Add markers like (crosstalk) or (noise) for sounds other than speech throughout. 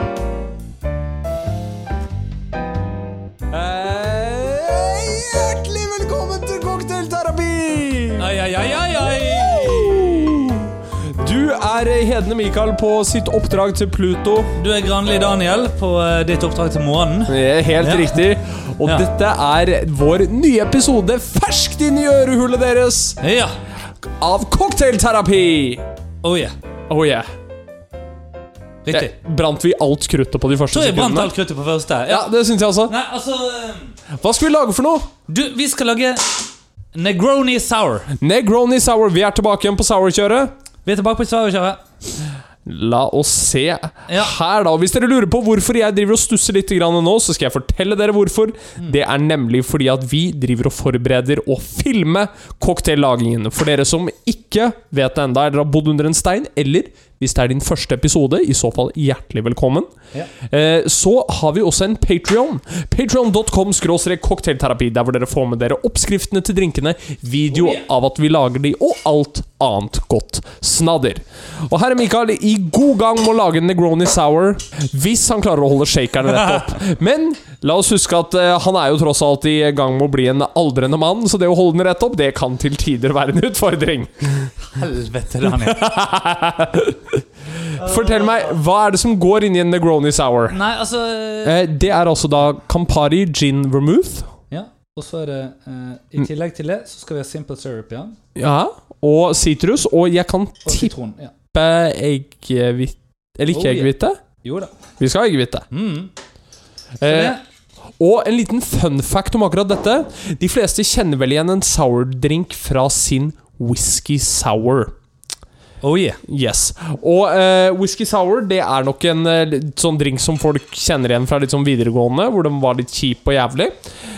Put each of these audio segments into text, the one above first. Eh, ledende Mikael på sitt oppdrag til Pluto. Du er Granli Daniel på eh, ditt oppdrag til månen. Eh, Helt Ja. riktig. Og Ja. dette er vår nye episode ferskt inn i ørehullet deres Ja. av Cocktailterapi. Oh yeah. Oh yeah. Riktig. Eh, Brant vi alt kruttet på de første Tror jeg brant sekundene? alt kruttet på første. Ja, Ja. det syns jeg også. Nei, altså eh, Hva skal vi lage for noe? Du, vi skal lage Negroni sour. Negroni sour. Vi er tilbake igjen på sour-kjøret. Vi er tilbake på Sverigekjøret. La oss se her, da. Hvis dere lurer på hvorfor jeg driver og stusser litt grann nå, så skal jeg fortelle dere hvorfor. Det er nemlig fordi at vi driver og forbereder å filme cocktaillagingen. For dere som ikke vet det ennå, eller har bodd under en stein, eller hvis det er din første episode, i så fall hjertelig velkommen. Ja. Eh, Så har vi også en Patreon Patreon.com skråstrek cocktailterapi, der hvor dere får med dere oppskriftene til drinkene, video Oh, yeah. av at vi lager de, og alt annet godt snadder. Og her er Mikael i god gang med å lage en Negroni Sour, hvis han klarer å holde shakerne rett (laughs) opp. Men la oss huske at eh, han er jo tross alt i gang med å bli en aldrende mann, så det å holde den rett opp, det kan til tider være en utfordring. Helvete, Daniel. Fortell meg, hva er det som går inn i en Negroni Sour? (laughs) Nei, altså eh, Eh, Det er altså da Campari gin vermouth. Ja. Og så er det eh, I tillegg til det så skal vi ha simple syrup, ja. Ja, og sitrus. Og jeg kan Og tippe sitron. Ja. eggehvite Eller ikke Oh, yeah. eggehvite. Jo da. Vi skal ha eggehvite. Mm. Eh, Det- og en liten fun fact om akkurat dette. De fleste kjenner vel igjen en sourdrink fra sin whisky sour. Oh yeah. Yes. Og eh, whisky sour det er nok en eh, litt sånn drink som folk kjenner igjen fra litt sånn videregående, hvor den var litt kjip og jævlig.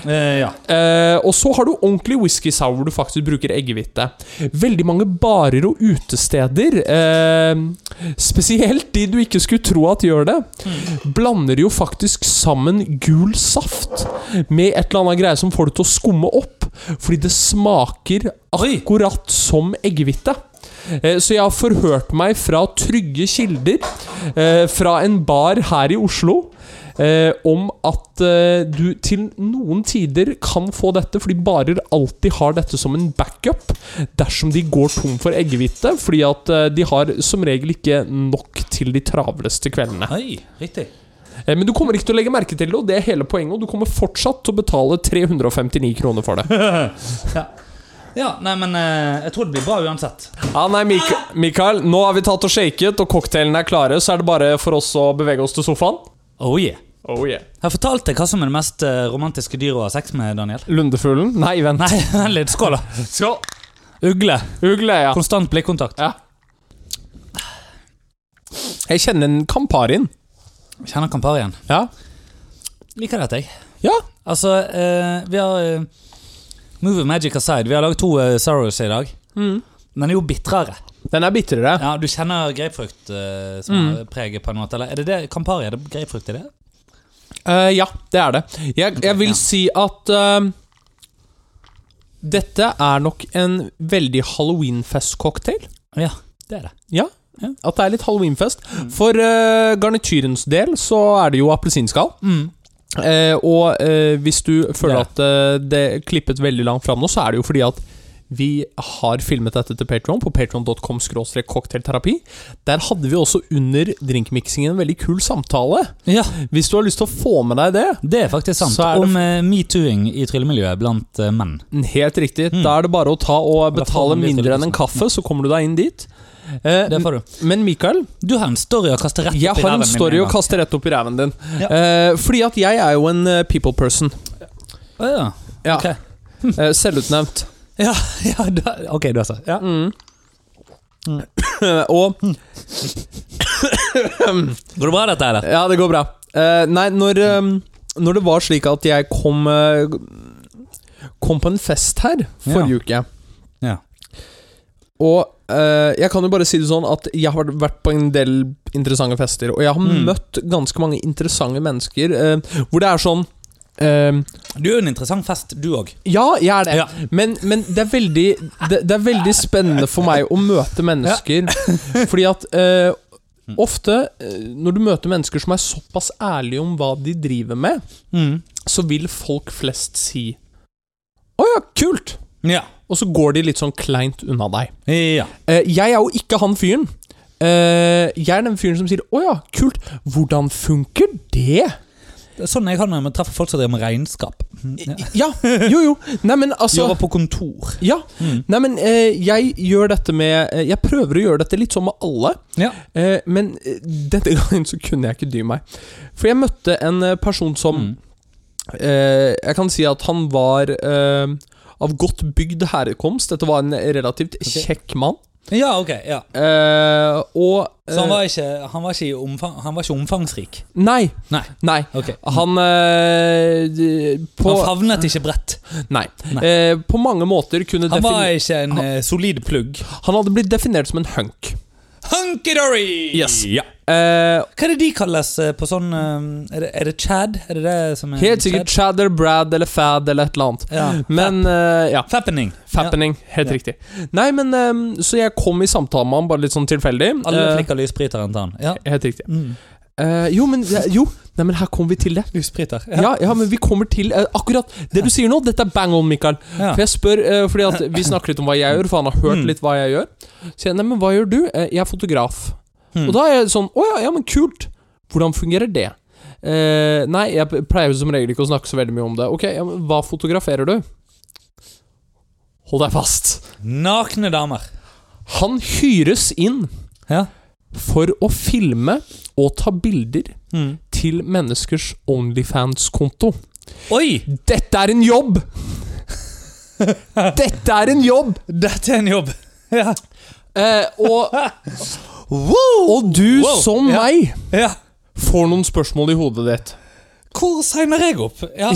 Eh, ja. Eh, og så har du ordentlig whisky sour hvor du faktisk bruker eggehvite. Veldig mange barer og utesteder, eh, spesielt de du ikke skulle tro at gjør det, blander jo faktisk sammen gul saft med et eller annet greie som får det til å skumme opp, fordi det smaker Oi. akkurat som eggehvite. Eh, Så jeg har forhørt meg fra trygge kilder, eh, fra en bar her i Oslo, eh, om at eh, du til noen tider kan få dette, fordi barer alltid har dette som en backup dersom de går tom for eggehvite, fordi at eh, de har som regel ikke nok til de travleste kveldene. Oi, riktig. Eh, Men du kommer ikke til å legge merke til det, og det er hele poenget, og du kommer fortsatt til å betale 359 kroner for det. ja. ja, nei, men eh, jeg tror det blir bra uansett. Ja, nei, Mik Mikael, nå har vi tatt og shaket, og cocktailene er klare, så er det bare for oss å bevege oss til sofaen. Oh yeah. Oh yeah. Jeg har fortalt deg hva som er det mest eh, romantiske dyret å ha sex med, Daniel. (laughs) Lundefuglen? Nei, vent. Nei, vent litt. Skål, da. Skål. Ugle. Ugle, ja. Konstant blikkontakt. ja. Jeg kjenner en Camparin. Kjenner Kamparien. Ja. Liker dette, jeg. Ja. Altså, eh, vi har eh, Move Magic aside. Vi har laget to uh, Sorrows i dag. Mm. Den er jo bitrere. Den er bitrere. Ja, du kjenner grapefrukt eh, som Mm. har preget på en måte, eller er det det? Campari, er det grapefrukt i det? Eh, ja, det er det. Jeg, jeg vil Ja. si at eh, dette er nok en veldig halloweenfest-cocktail. Ja, det er det. Ja. Ja. At det er litt halloweenfest. For eh, garnityrens del så er det jo appelsinskall. Eh, og eh, hvis du føler Ja. at eh, det er klippet veldig langt fram nå, så er det jo fordi at vi har filmet dette til Patron på patron.com cocktailterapi. Der hadde vi også under drinkmiksingen en veldig kul samtale. Ja, Hvis du har lyst til å få med deg det, det er faktisk sant. Så er det- Om eh, metooing i tryllemiljøet blant eh, menn. helt riktig, da er det bare å ta og Mm. Da får betale man litt mindre enn en kaffe, så kommer du deg inn dit. Eh, Det får du. men Mikael, Du har en story å kaste rett opp i Jeg har ræven en min story en å gang. kaste rett opp i ræven din. Ja. Eh, fordi at jeg er jo en eh, people person. Å, ja. Ja. Ok. (laughs) Eh, selvutnevnt. (laughs) Ja, (laughs) ja da, ok, du altså. Ja. Eh, og Går det bra, dette, eller? Ja, det går bra. Eh, nei, når, eh, når det var slik at jeg kom eh, Kom på en fest her forrige uke Ja. Og eh, jeg kan jo bare si det sånn at jeg har vært på en del interessante fester, og jeg har Mm. møtt ganske mange interessante mennesker eh, hvor det er sånn eh, Du er jo en interessant fest, du òg. Ja, jeg er det. Ja. Men, men det, er veldig, det, det er veldig spennende for meg å møte mennesker. (laughs) Fordi at eh, ofte eh, når du møter mennesker som er såpass ærlige om hva de driver med, Mm. så vil folk flest si 'Å ja, kult', Ja. og så går de litt sånn kleint unna deg. ja. Eh, jeg er jo ikke han fyren. eh, jeg er den fyren som sier 'Å ja, kult. Hvordan funker det?' Det er Sånn jeg har det med å treffe folk som driver med regnskap. Mm. Ja. Ja, jo, jo. Nei, men altså Jobber på kontor. Ja. Mm. Nei, men eh, jeg gjør dette med eh, Jeg prøver å gjøre dette litt sånn med alle. Ja. Eh, men eh, denne (laughs) gangen så kunne jeg ikke dy meg. For jeg møtte en eh, person som Mm. eh, Jeg kan si at han var eh, av godt bygd herkomst. Dette var en relativt kjekk mann. ja, ok. Ja. Eh, og eh, Så han var ikke, han var ikke, i omfang, han var ikke omfangsrik? Nei. Nei. Nei. Ok. Han eh, d- på, Han favnet ikke bredt. Nei. Nei. Eh, på mange måter kunne Han var defin- ikke en eh, solid plugg. Han hadde blitt definert som en hunk. Hunky-dory! Yes. Ja. Eh, Hva er det de kalles eh, på sånn eh, Er det, er det Chad? Er det det som er helt sikkert Chadder, Brad eller Fad eller et eller annet. Chad? Ja. Men eh, ja. Fappening. Fappening. Helt Ja. riktig. Nei, men eh, Så jeg kom i samtale med han bare litt sånn tilfeldig. Ja. Alle Eh, flikker lysbryteren til han. Ja. helt riktig. Mm. Eh, jo, men ja, Jo, nei, men her kom vi til det. Lysbryter. Ja. Ja, ja, men vi kommer til eh, akkurat det du sier nå. Dette er bang on, Mikael. Ja. For jeg spør, eh, fordi at (laughs) Vi snakker litt om hva jeg gjør, for han har hørt Mm. litt hva jeg gjør. Så jeg, nei, men hva gjør du? Eh, jeg er fotograf. Mm. Og da er jeg sånn Å ja, ja, men kult. Hvordan fungerer det? Eh, nei, jeg pleier jo som regel ikke å snakke så veldig mye om det. Ok, ja, men hva fotograferer du? Hold deg fast. Nakne damer. Han hyres inn Ja. for å filme og ta bilder Hmm. til menneskers Onlyfans-konto. Oi! Dette er en jobb! Dette er en jobb! Dette er en jobb. (laughs) ja. Eh, (laughs) og, og du, Wow, som ja. meg, ja. får noen spørsmål i hodet ditt. Hvor signer jeg opp? (laughs) Ja.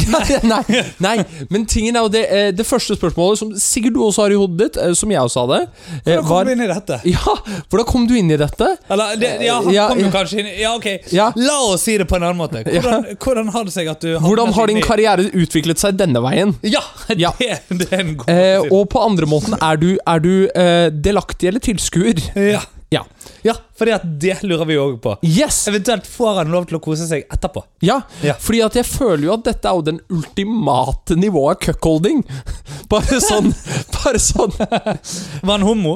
nei, nei, men tingen er jo det, eh, det første spørsmålet, som sikkert du også har i hodet ditt, eh, som jeg også hadde, eh, Hvordan kom var vi inn i dette? (laughs) Ja, hvordan kom du inn i dette? Eller, det, ja, han Ja, kom jo ja. kanskje inn i- Ja, ok. Ja. La oss si det på en annen måte. Hvordan, hvordan har det seg at du Hvordan har din havnet inn karriere utviklet seg denne veien? i- Ja! (laughs) Ja. Det, det er en god Eh, måte å si det. og på andre måten, er du, er du eh, delaktig eller tilskuer? ja. Ja. ja, fordi at det lurer vi òg på. Yes! Eventuelt får han lov til å kose seg etterpå. Ja, Ja. fordi at jeg føler jo at dette er jo den ultimate nivået av cuckolding. (laughs) Bare sånn (laughs) Bare sånn Var han homo?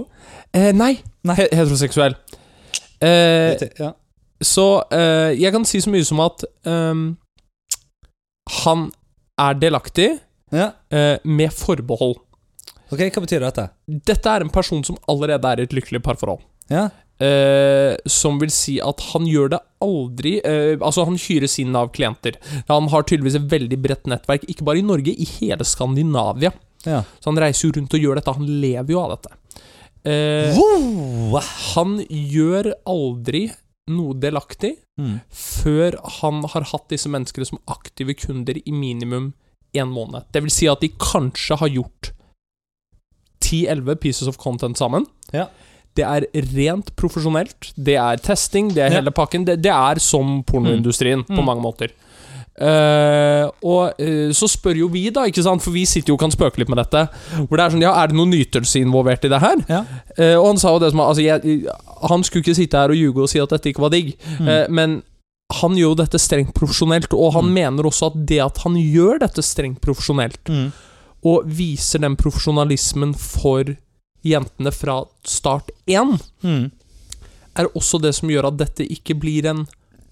eh, Nei, Nei. He heteroseksuell. Eh, Ja. så eh, jeg kan si så mye som at ehm, han er delaktig, ja. eh, med forbehold. Ok, Hva betyr dette? Dette er en person som allerede er i et lykkelig parforhold. Ja. Eh, som vil si at han gjør det aldri eh, Altså, han hyres inn av klienter. Han har tydeligvis et veldig bredt nettverk, ikke bare i Norge, i hele Skandinavia. ja. Så han reiser jo rundt og gjør dette. Han lever jo av dette. Eh, Wow. han gjør aldri noe delaktig Mm. før han har hatt disse menneskene som aktive kunder i minimum én måned. Det vil si at de kanskje har gjort 10-11 pieces of content sammen. Ja. Det er rent profesjonelt. Det er testing, det er Ja. hele pakken. Det, det er som pornoindustrien Mm. på mange måter. Eh, og eh, så spør jo vi, da, ikke sant? for vi sitter jo og kan spøke litt med dette. Hvor det Er sånn, ja, er det noen nytelse involvert i det her? Ja. Eh, og han sa jo det som altså, jeg, Han skulle ikke sitte her og ljuge og si at dette ikke var digg, Mm. eh, men han gjør jo dette strengt profesjonelt, og han Mm. mener også at det at han gjør dette strengt profesjonelt, Mm. og viser den profesjonalismen for jentene fra start én, Hmm. Mm. er også det som gjør at dette ikke blir en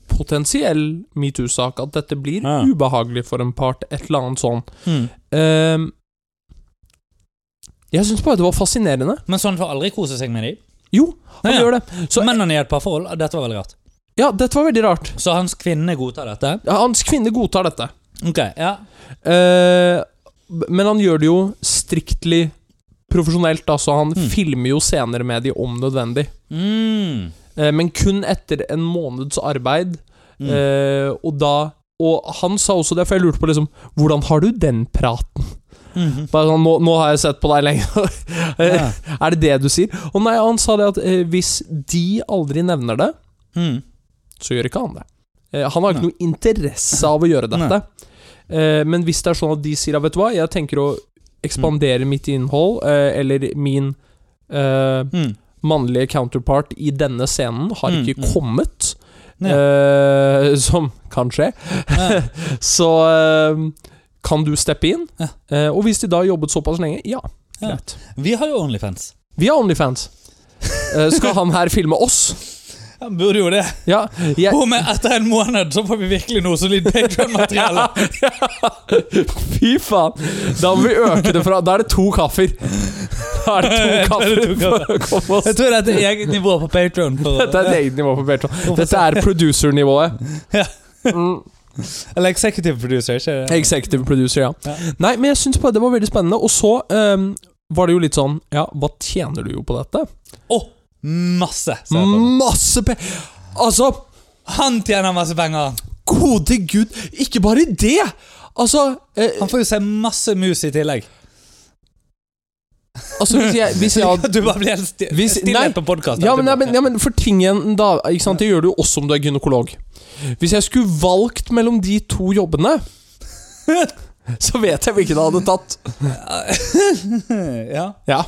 potensiell metoo-sak. At dette blir Ja. ubehagelig for en part, et eller annet sånn. Mm. Ehm, jeg syns bare det var fascinerende. Men sånn får aldri kose seg med dem. Jo, han Nei, ja. gjør det. Så Men han er i et parforhold. og Dette var veldig rart. ja, dette var veldig rart. Så hans kvinne godtar dette? Ja, hans kvinne godtar dette. Ok, ja. Eh, men han gjør det jo striktlig profesjonelt, altså. Han Mm. filmer jo senere med de om nødvendig. Mm. Eh, men kun etter en måneds arbeid. Mm. Eh, og da Og han sa også det, for jeg lurte på liksom Hvordan har du den praten? Mhm. Bare sånn, nå, nå har jeg sett på deg lenge. (laughs) Eh, Ja. Er det det du sier? Og nei, han sa det at eh, hvis de aldri nevner det, Mm. så gjør ikke han det. Eh, han har ikke noe interesse av å gjøre dette. Eh, men hvis det er sånn at de sier ja, vet du hva, jeg tenker å ekspandere mitt innhold, eh, eller min eh, Mm. mannlige counterpart i denne scenen har Mm, ikke mm. kommet, Ja. eh, (laughs) som kan skje, Ja. (laughs) så eh, kan du steppe inn. Ja. Eh, og hvis de da har jobbet såpass lenge, ja, Ja. greit. Vi har jo Onlyfans. Vi har Onlyfans. Eh, skal han her filme oss? Han burde jo det. Ja, jeg, Og med etter en måned så får vi virkelig noe solid (laughs) Patron-materiale. Fy faen! Da må vi øke det fra Da er det to kaffer. Da (laughs) er det to Da er det to kaffer for å komme oss Jeg tror dette er eget nivå på Patron. (laughs) Dette er et eget nivå på Bertrand. Dette er (laughs) producer-nivået. Ja. Mm, Eller executive producer, ikke det? executive producer, ja. Ja. Nei, men jeg syns bare det var veldig spennende. Og så ehm, var det jo litt sånn Ja, hva tjener du jo på dette? Å, masse! sa jeg på Mm. den. Masse pe... Altså, Han tjener masse penger, han. gode gud, ikke bare det! Altså, eh, Han får jo se masse mus i tillegg. altså hvis jeg, hvis jeg hadde (laughs) Du bare blir helt sti Hvis- nei. stillhet på podkasten. ja men, ja, men, ja, men for tingen da ikke sant? Det gjør du jo også om du er gynekolog. Hvis jeg skulle valgt mellom de to jobbene, (laughs) så vet jeg hvilken jeg hadde tatt. (laughs) ja. Ja.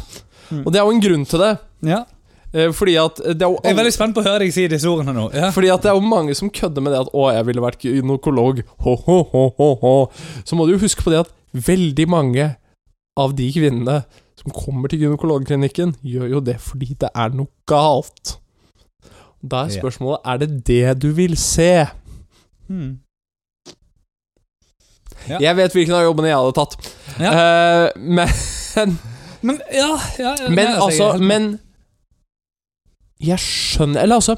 Mm. Og det er jo en grunn til det. ja. Eh, Fordi at eh, det er jo Jeg er alle, veldig spent på å høre deg si disse ordene nå. Ja. fordi at det er jo mange som kødder med det at 'Å, jeg ville vært gynekolog'. Ho, ho, ho, ho, ho. Så må du jo huske på det at veldig mange av de kvinnene som kommer til gynekologklinikken, gjør jo det fordi det er noe galt. Da er Ja. spørsmålet er det det du vil se. Hmm. Ja. Jeg vet hvilken av jobbene jeg hadde tatt. Ja. Eh, men Men ja, ja ja, nei, Men altså jeg- Men Jeg skjønner Eller altså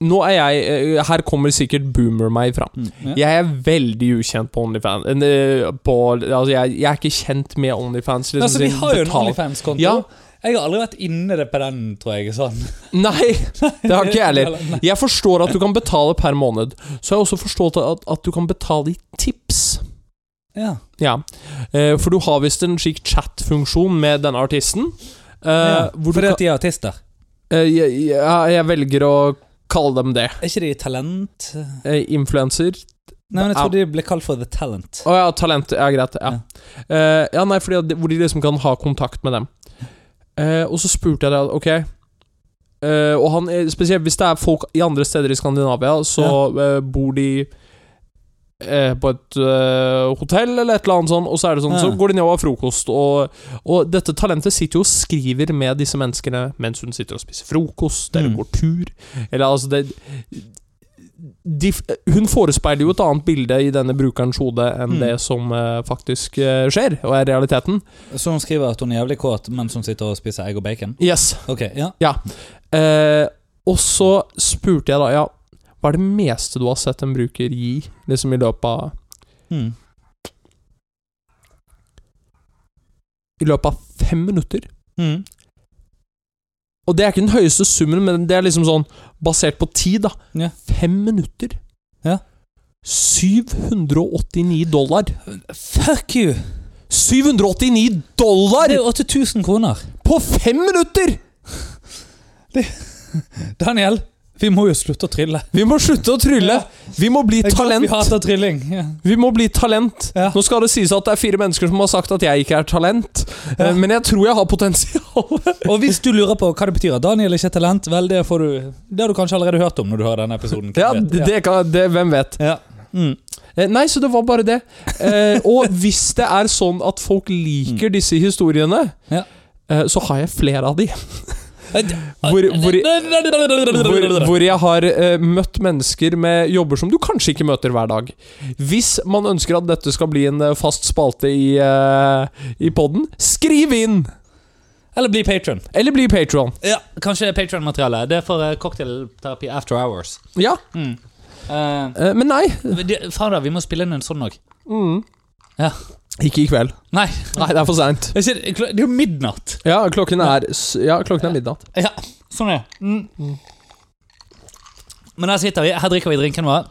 Nå er jeg eh, Her kommer sikkert boomer meg fram. Mm, ja. Jeg er veldig ukjent på OnlyFans. eh, På, altså jeg, jeg er ikke kjent med OnlyFans. Liksom, altså, vi sin har jo en betal- OnlyFans-konto. Ja. Jeg har aldri vært inne det på den, tror jeg. sånn. (laughs) Nei, det har ikke jeg (laughs) heller. Nei. Jeg forstår at du kan betale per måned. Så har jeg også forstått at, at du kan betale i tips. Ja. Ja, eh, for du har visst en slik chat-funksjon med denne artisten. eh, Ja. hvor du Fordi kan, at de er artister. eh, jeg, jeg, jeg velger å kalle dem det. Er ikke de talent? Eh, Influencer. Nei, men jeg Ja. Ah. trodde de ble kalt for The Talent. Å ja, talent. Ja, greit. Ja. Eh, ja, nei, fordi at, Hvor de liksom kan ha kontakt med dem. Eh, og så spurte jeg deg, ok eh, Og han er- spesielt hvis det er folk i andre steder i Skandinavia, så eh, bor de eh, på et eh, hotell eller et eller annet sånt, og så er det sånn Så Ja. går de ned og har frokost, og, og dette talentet sitter jo og skriver med disse menneskene mens hun sitter og spiser frokost, eller Mm. går tur, eller altså det de, hun forespeiler jo et annet bilde i denne brukerens hode enn Mm. det som eh, faktisk eh, skjer, og er realiteten. Så hun skriver at hun er jævlig kåt mens hun sitter og spiser egg og bacon? Yes. Ok, ja. Eh, og så spurte jeg da, ja, hva er det meste du har sett en bruker gi, liksom i løpet av, Hmm. i løpet av fem minutter? Hmm. Og det er ikke den høyeste summen, men det er liksom sånn, basert på tid da. Ja. Fem minutter. Ja. 789 dollar. Fuck you! 789 Det dollar er jo 8000 kroner. på fem minutter! Daniel, vi må jo slutte å trylle. Vi må slutte å trylle. Vi må bli Det er klart talent. Vi hater trylling. Ja. Vi må bli talent. Ja. Nå skal det sies at det er fire mennesker som har sagt at jeg ikke er talent, Ja. eh, men jeg tror jeg har potensial. Og hvis du lurer på hva det betyr at Daniel ikke er talent, vel, det, får du, det har du kanskje allerede hørt om når du hører denne episoden. (laughs) ja, Hvem vet? det, det kan, det, hvem vet. ja. Mm. Eh, Nei, så det var bare det. Eh, og hvis det er sånn at folk liker disse historiene, Ja. eh, så har jeg flere av de. Hvor, Hvor- hvor- Hvor, hvor jeg har eh, møtt mennesker med jobber som du kanskje ikke møter hver dag. Hvis man ønsker at dette skal bli en eh, fast spalte i, eh, i poden, skriv inn! Eller bli patron. Eller bli Patron. Ja, kanskje patron-materiale. Det er for eh, cocktailterapi after hours. Ja, Mm. Eh, eh, men nei. det- faen da, vi må spille inn en sånn òg. Mm. Ja. Ikke i kveld. Nei, Nei, det er for seint. jeg sier- kl- det er jo midnatt. Ja, klokken er s- Ja, klokken er midnatt. Ja, sånn er det. Mm. Men her sitter vi, her drikker vi drinkene våre.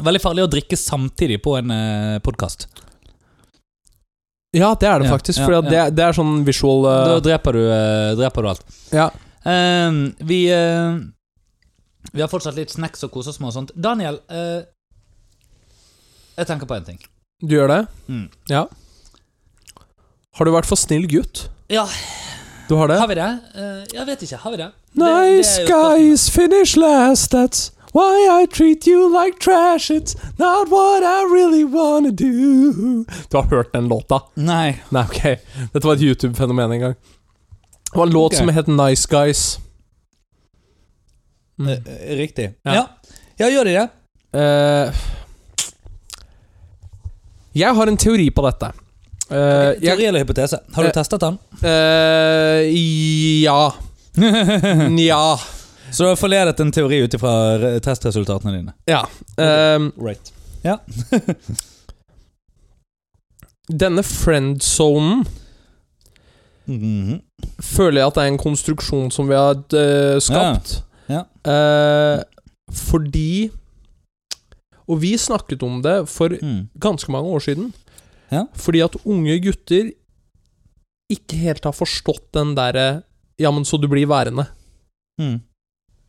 Veldig farlig å drikke samtidig på en uh, podkast. Ja, det er det Ja, faktisk. ja, for det, ja. det er sånn visual Da eh, dreper du, eh, dreper du alt. Ja. Eh, vi eh, Vi har fortsatt litt snacks og koser oss med og sånt. Daniel, eh, jeg tenker på en ting. Du gjør det? Mm. Ja. Har du vært for snill gutt? Ja. Du har det? Har vi det? Eh, jeg vet ikke. Har vi det? Nice det, det er jo guys finish last, that's why I treat you like trash. It's not what I really wanna do. Du har hørt den låta? spørsmålet. Nei. Nei, ok. Dette var et YouTube-fenomen en gang. Det var en låt Ok. som het Nice Guys. Mm. Eh, eh, Riktig. Ja. Ja. ja. gjør de det? Eh, jeg har en teori på dette. Eh, jeg, Teori eller hypotese? Har du Eh, testet (laughs) den? eh, (laughs) ja. Nja. Så du har forledet en teori ut ifra eh, testresultatene dine? Ja. Eh, Right. denne friend-zonen Mhm. føler jeg at det er en konstruksjon som vi har eh, skapt. Ja. Eh, fordi Og vi snakket om det for mm. ganske mange år siden. Ja. Fordi at unge gutter ikke helt har forstått den derre Ja, men så du blir værende. Mm.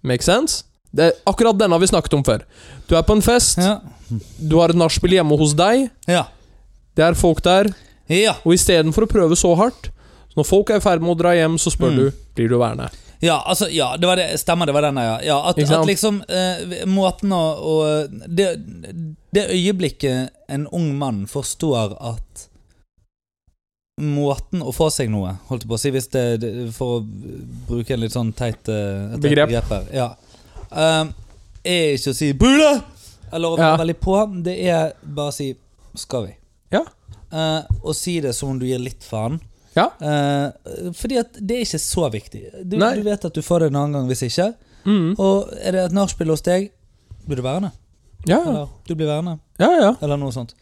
Make sense? Det, akkurat denne har vi snakket om før. Du er på en fest, Ja. du har et nachspiel hjemme hos deg, Ja. det er folk der, Ja. og istedenfor å prøve så hardt så Når folk er i ferd med å dra hjem, så spør Mm. du blir du værende. Ja, altså, ja, det var det, stemmer, det var den, ja. ja at, Ikke sant? at liksom eh, Måten å, å det, det øyeblikket en ung mann forstår at Måten å få seg noe, holdt jeg på å si, hvis det, det for å bruke en litt sånn teit eh, et teit Begrep. her. Ja. Eh, er ikke å si 'bule!' eller å være Ja. veldig på. Det er bare å si 'skal vi'? Ja. Eh, og si det som om du gir litt faen. Ja. Eh, fordi at det er ikke så viktig. Du, Nei. du vet at du får det en annen gang hvis ikke. Mm. Og er det et nachspiel hos deg, blir du værende. Ja, ja, Eller du blir værende, ja, ja. eller noe sånt.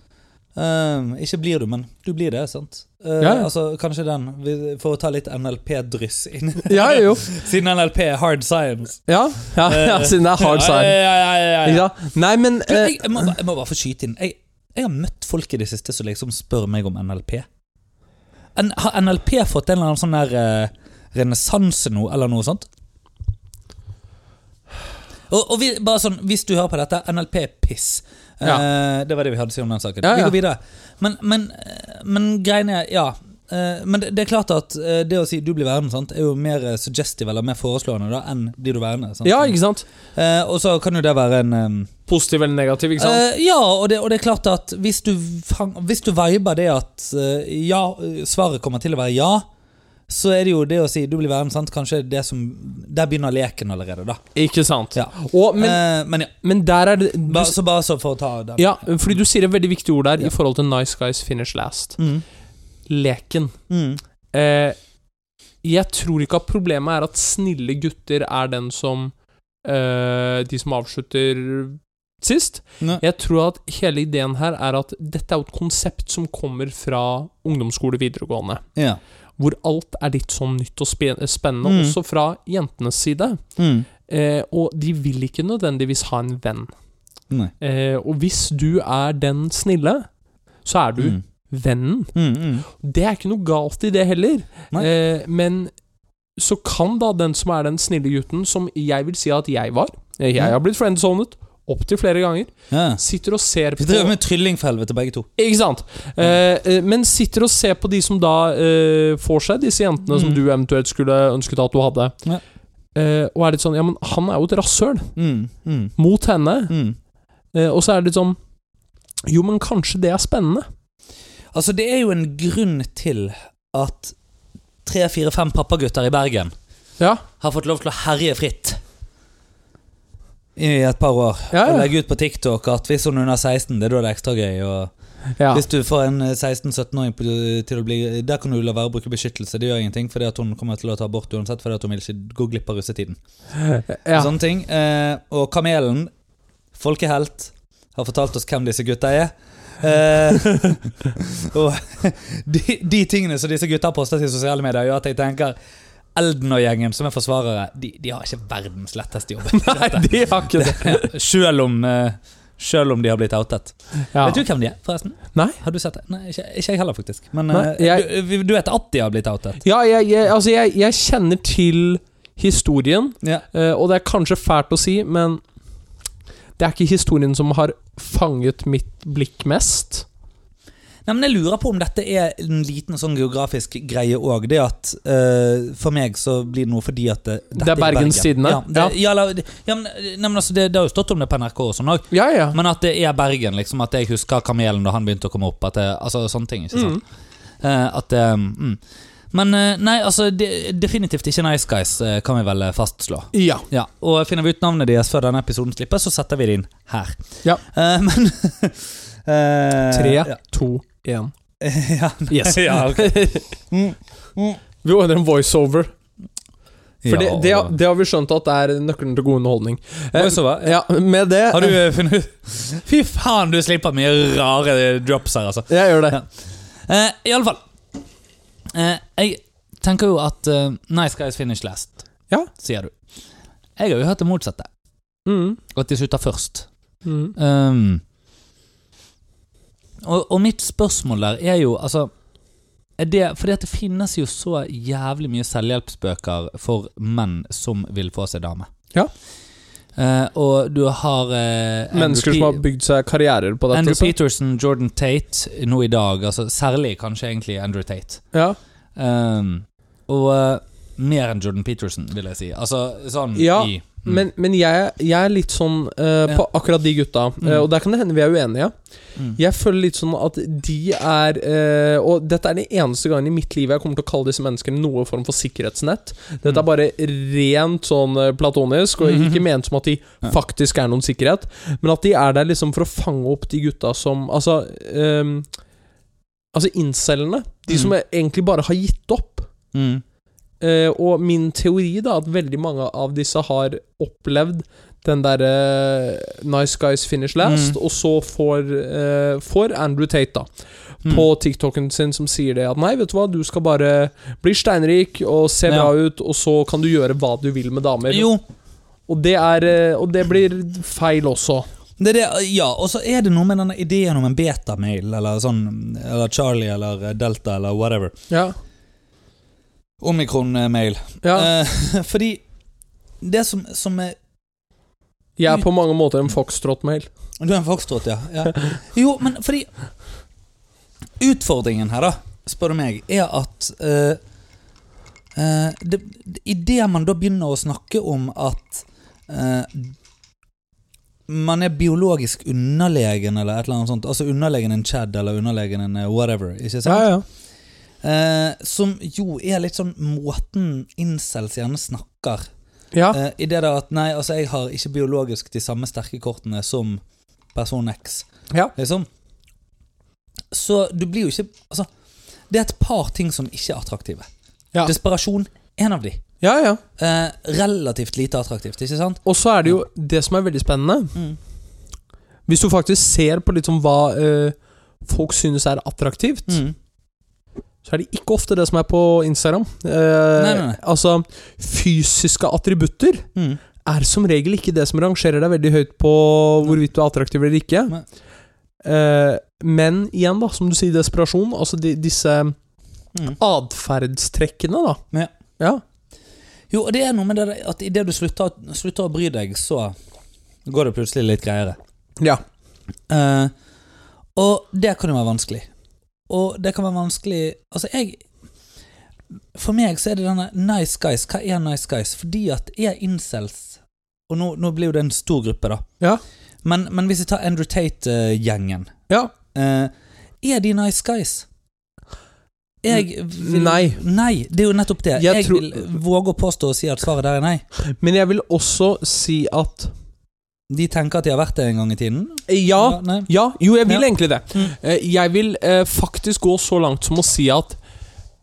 Eh, ikke blir du, men du blir det, sant? Eh, Ja, ja. Altså, kanskje den, vi- for å ta litt NLP-dryss inn. (laughs) Ja, jo. Siden NLP er hard science. Ja, ja, ja siden det er hard Eh, Ja, side. ja, ja, ja, ja. Ikke sant? Nei, men Du, eh, jeg, jeg, må, bare- jeg må bare få skyte inn. Jeg, jeg har møtt folk i det siste som liksom spør meg om NLP. N har NLP fått en eller annen sånn der eh, renessanse nå, eller noe sånt? Og, og vi, bare sånn, Hvis du hører på dette, NLP er piss. Eh, det var det vi hadde å si om den saken. Ja, Vi ja. går videre. Men, men, eh, men greien er Ja. eh, Men det, det er klart at eh, det å si 'du blir værende', sant, er jo mer eh, suggestive eller mer foreslående da, enn 'blir du værende'. Sant? Ja, ikke sant? Eh, og så kan jo det være en eh, Positiv eller negativ, ikke sant? Eh, ja, og det, og det er klart at hvis du, fang- hvis du viber det at eh, ja, eh, svaret kommer til å være ja, så er det jo det å si du blir værende, sant? Kanskje det som Der begynner leken allerede, da. Ikke sant. Ja. Eh, Og, men, Eh, men ja, men der er det du, ba, så bare så for å ta den. Ja, fordi du sier et veldig viktig ord der Ja. i forhold til 'nice guys finish last'. Mm. Leken. Mm. Eh, jeg tror ikke at problemet er at snille gutter er den som eh, De som avslutter sist. Nei. Jeg tror at hele ideen her er at dette er jo et konsept som kommer fra ungdomsskole videregående. Ja. Hvor alt er litt sånn nytt og spe- spennende, Mm. også fra jentenes side. Mm. Eh, og de vil ikke nødvendigvis ha en venn. Nei. Eh, og hvis du er den snille, så er du Mm. vennen. Mm, mm. Det er ikke noe galt i det heller. Nei. Eh, men så kan da den som er den snille gutten, som jeg vil si at jeg var eh, Jeg Mm. har blitt friendzonet opptil flere ganger. Ja. Sitter og ser på Vi driver med trylling for helvete, begge to. Ikke sant? Eh, eh, men sitter og ser på de som da eh, får seg disse jentene som Mm. du eventuelt skulle ønsket at du hadde. Ja. Eh, og er litt sånn Ja, men han er jo et rasshøl Mm. Mm. mot henne. Mm. Eh, og så er det litt sånn Jo, men kanskje det er spennende. Altså, det er jo en grunn til at tre, fire, fem pappagutter i Bergen Ja. har fått lov til å herje fritt i et par år. Ja, Og ja. legge ut på TikTok at hvis hun er under 16, det er da det er ekstra gøy. Og ja. Hvis du får en eh, 16-17-åring på- til å bli Der kan du la være å bruke beskyttelse, det gjør ingenting, fordi at hun kommer til å ta abort uansett, fordi at hun vil ikke gå glipp av russetiden. ja. Sånne ting. Eh, og Kamelen, folkehelt, har fortalt oss hvem disse gutta er. Eh, (laughs) og de, de tingene som disse gutta har postet i sosiale medier, gjør at jeg tenker Elden og gjengen, som er forsvarere, de, de har ikke verdens letteste jobb. (laughs) (laughs) Nei, de har ikke det. Selv om, eh, selv om de har blitt outet. Ja. Vet du hvem de er, forresten? Nei. Har du sett det? Nei, ikke, ikke jeg heller, faktisk. Men Nei, eh, jeg- du, vi- du vet at de har blitt outet? Ja, jeg, jeg, altså jeg, jeg kjenner til historien, Ja. eh, og det er kanskje fælt å si, men det er ikke historien som har fanget mitt blikk mest. Nei, men Jeg lurer på om dette er en liten sånn geografisk greie òg. Det at eh, for meg så blir det noe fordi at det, dette Det er eh? Bergens Tidende. Ja, det, ja. eller- ja, men, nei, men altså, det, det har jo stått om det på NRK og sånn òg. Ja, ja. Men at det er Bergen, liksom. At jeg husker Kamelen da han begynte å komme opp. At det, altså sånne ting, ikke sant? Mm. Eh, at det, mm. Men eh, nei, altså de, definitivt ikke Nice Guys, eh, kan vi vel eh, fastslå. Ja. Ja, Og finner vi ut navnet deres før denne episoden slippes, så setter vi det inn her. Ja. Eh, men (laughs) eh, Tre, Ja. to, én. ja. Yes. (laughs) ja, ok. Mm. Mm. Vi ordner en voiceover. For det, Ja, det, og- det har vi skjønt at det er nøkkelen til god underholdning. Eh, Voiceover? ja, med det Har du eh, funnet ut Fy faen, du slipper mye rare drops her, altså. Jeg gjør det. Ja. Uh, Iallfall. Uh, jeg tenker jo at eh, Nice guys finish last, Ja. sier du. Jeg har jo hørt det motsatte. Mm. At de slutter først. Mm. Ehm, og, og mitt spørsmål der er jo altså er det, Fordi at det finnes jo så jævlig mye selvhjelpsbøker for menn som vil få seg dame. Ja. Eh, og du har eh, Andrew Mennesker som Pe- har bygd seg karrierer på dette. Andrew så- Peterson, Jordan Tate nå i dag, altså særlig kanskje egentlig Andrew Tate. Ja. Ehm, og eh, mer enn Jordan Peterson, vil jeg si. Altså sånn Ja, i mm. Men, men jeg, jeg er litt sånn eh, på akkurat de gutta, eh, Mm. og der kan det hende vi er uenige. Mm. Jeg føler litt sånn at de er eh, Og dette er den eneste gangen i mitt liv jeg kommer til å kalle disse menneskene noe form for sikkerhetsnett. Dette Mm. er bare rent sånn eh, platonisk, og Mm-hmm. ikke ment som at de faktisk er noen sikkerhet, men at de er der liksom for å fange opp de gutta som Altså ehm, Altså incelene. De som egentlig bare har gitt opp. Mm. Eh, og min teori da at veldig mange av disse har opplevd den derre Nice guys finish last, Mm. og så får, eh, får Andrew Tate, da, Mm. på TikToken sin, som sier det at nei, vet du hva, du skal bare bli steinrik og se Ja. bra ut, og så kan du gjøre hva du vil med damer. Jo, Og, det er, eh, og det blir feil også. det er det, ja, og så er det noe med denne ideen om en betamail, eller sånn Eller Charlie eller Delta eller whatever. Ja. Omikron-mail. ja. Eh, (laughs) fordi det som, som er Jeg er på mange måter en foxtrot-mail. Du er en foxtrot, ja. ja. Jo, men fordi Utfordringen her, da, spør du meg, er at eh, eh, det, Idet man da begynner å snakke om at eh, man er biologisk underlegen eller et eller annet sånt, altså underlegen en Chad eller underlegen en eh, whatever, ikke sant? ja. Eh, som jo er litt sånn måten incels gjerne snakker ja. Eh, I det da at Nei, altså jeg har ikke biologisk de samme sterke kortene som person X. Ja. Liksom. Så du blir jo ikke Altså, det er et par ting som ikke er attraktive. Ja. Desperasjon, en av de. ja, ja. Eh, relativt lite attraktivt, ikke sant? Og så er det jo det som er veldig spennende Mm. Hvis du faktisk ser på litt sånn hva eh, folk synes er attraktivt, Mm. så er det ikke ofte det som er på Instagram. Eh, Nei, nei, nei. Altså, fysiske attributter Mm. er som regel ikke det som rangerer deg veldig høyt på hvorvidt du er attraktiv eller ikke. Nei. Eh, men igjen, da, som du sier, desperasjon. Altså de, disse Mm. atferdstrekkene, da. Ja. Jo, og det er noe med det der at idet du slutter, slutter å bry deg, så går det plutselig litt greiere. Ja. Eh, og det kan jo være vanskelig. Og det kan være vanskelig Altså, jeg For meg så er det denne nice guys. Hva er nice guys? Fordi at er incels Og nå, nå blir jo det en stor gruppe, da. Ja. Men, men hvis jeg tar Andrew Tate-gjengen eh, Ja. Er de nice guys? Jeg vil Nei. Nei, det er jo nettopp det. Jeg Jeg, tror- vil våge å påstå og si at svaret der er nei. Men jeg vil også si at De tenker at de har vært det en gang i tiden. Ja, Nei. Ja, jo, jeg vil Ja. egentlig det. Mm. Eh, Jeg vil eh, faktisk gå så langt som å si at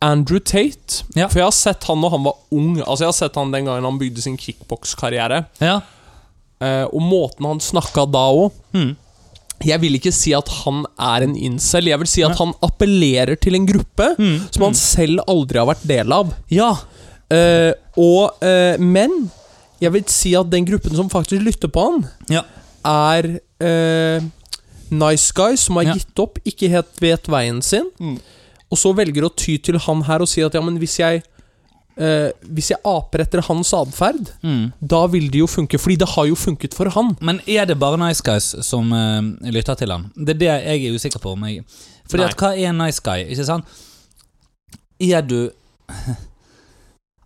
Andrew Tate Ja. For jeg har sett han når han var ung. Altså Jeg har sett han den gangen han bygde sin kickbokskarriere. Ja. Eh, og måten han snakka da òg. Mm. Jeg vil ikke si at han er en incel. Jeg vil si at han appellerer til en gruppe Mm. som han selv aldri har vært del av. ja. Eh, og, eh, men jeg vil si at den gruppen som faktisk lytter på han, Ja. er eh, nice guys som har Ja. gitt opp, ikke helt vet veien sin, Mm. og så velger å ty til han her og si at ja, men hvis jeg eh, Hvis jeg aper etter hans atferd, Mm. da vil det jo funke, fordi det har jo funket for han. Men er det bare nice guys som eh, lytter til han? Det er det jeg er usikker på. om jeg... Fordi Nei. at hva er en nice guy? Ikke sant? Er du (laughs)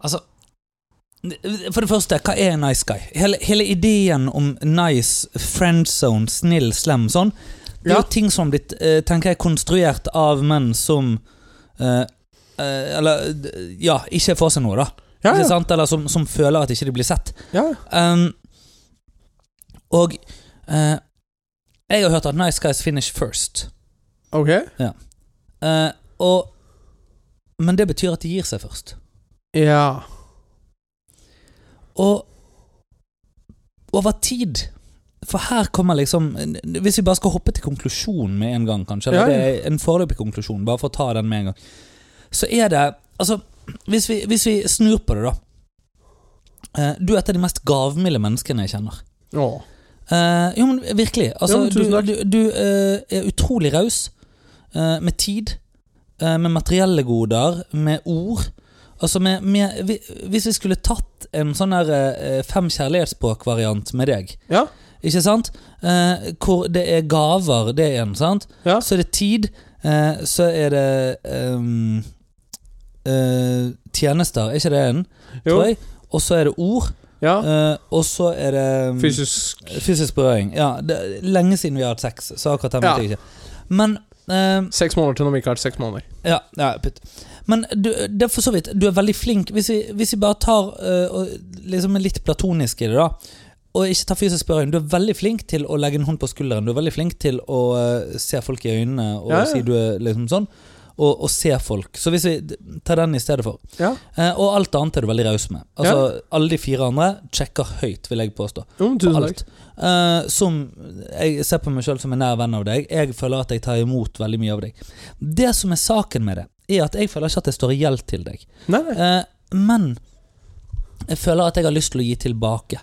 Altså For det første, hva er en nice guy? Hele, hele ideen om nice, friendzone, snill, slem, sånn, det er Ja. jo ting som har blitt eh, tenker jeg, konstruert av menn som eh, eh, Eller d- ja, ikke får seg noe, da. Ja, Ikke ja. sant? Eller som, som føler at ikke de blir sett. ja. Um, og eh, jeg har hørt at nice guys finish first. Ok. Eh, og, men det betyr at de gir seg først. Ja. Og over tid For her kommer liksom Hvis vi bare skal hoppe til konklusjonen med en gang, kanskje. Eller Ja, ja. det er en foreløpig konklusjon, bare for å ta den med en gang. Så er det Altså, hvis vi, hvis vi snur på det, da. Eh, Du er et av de mest gavmilde menneskene jeg kjenner. Åh. Eh, jo, men virkelig. Altså, Ja, men tusen du takk. du, du eh, er utrolig raus eh, med tid, eh, med materielle goder, med ord. Altså med, med, vi- hvis vi skulle tatt en sånn der eh, fem kjærlighetsspråk-variant med deg, Ja. ikke sant? Eh, hvor det er gaver, det er en, sant? Ja. Så er det tid, eh, så er det ehm, eh, tjenester, er ikke det en? Jo. Tror jeg. Og så er det ord, Ja. eh, og så er det ehm, Fysisk Fysisk berøring. Ja, det er lenge siden vi har hatt sex, så akkurat den Ja. vet jeg ikke. Men eh, Seks måneder til når vi ikke har vært seks måneder. Ja, ja putt. Men du, det er for så vidt, du er veldig flink. Hvis vi, hvis vi bare tar eh, og liksom er litt platonisk i det, da. Og ikke tar fysisk berøring. Du er veldig flink til å legge en hånd på skulderen. Du er veldig flink til å eh, se folk i øynene og Ja, ja. si du er liksom sånn. Og, og se folk. Så hvis vi d- tar den i stedet for. Ja. Eh, og alt annet er du veldig raus med. Altså, Alle de fire andre sjekker høyt, vil jeg påstå Jo, men på tusen takk. alt. Eh, som Jeg ser på meg sjøl som en nær venn av deg. Jeg føler at jeg tar imot veldig mye av deg. Det som er saken med det, er at jeg føler ikke at jeg står i gjeld til deg. Nei, nei. Eh, men jeg føler at jeg har lyst til å gi tilbake.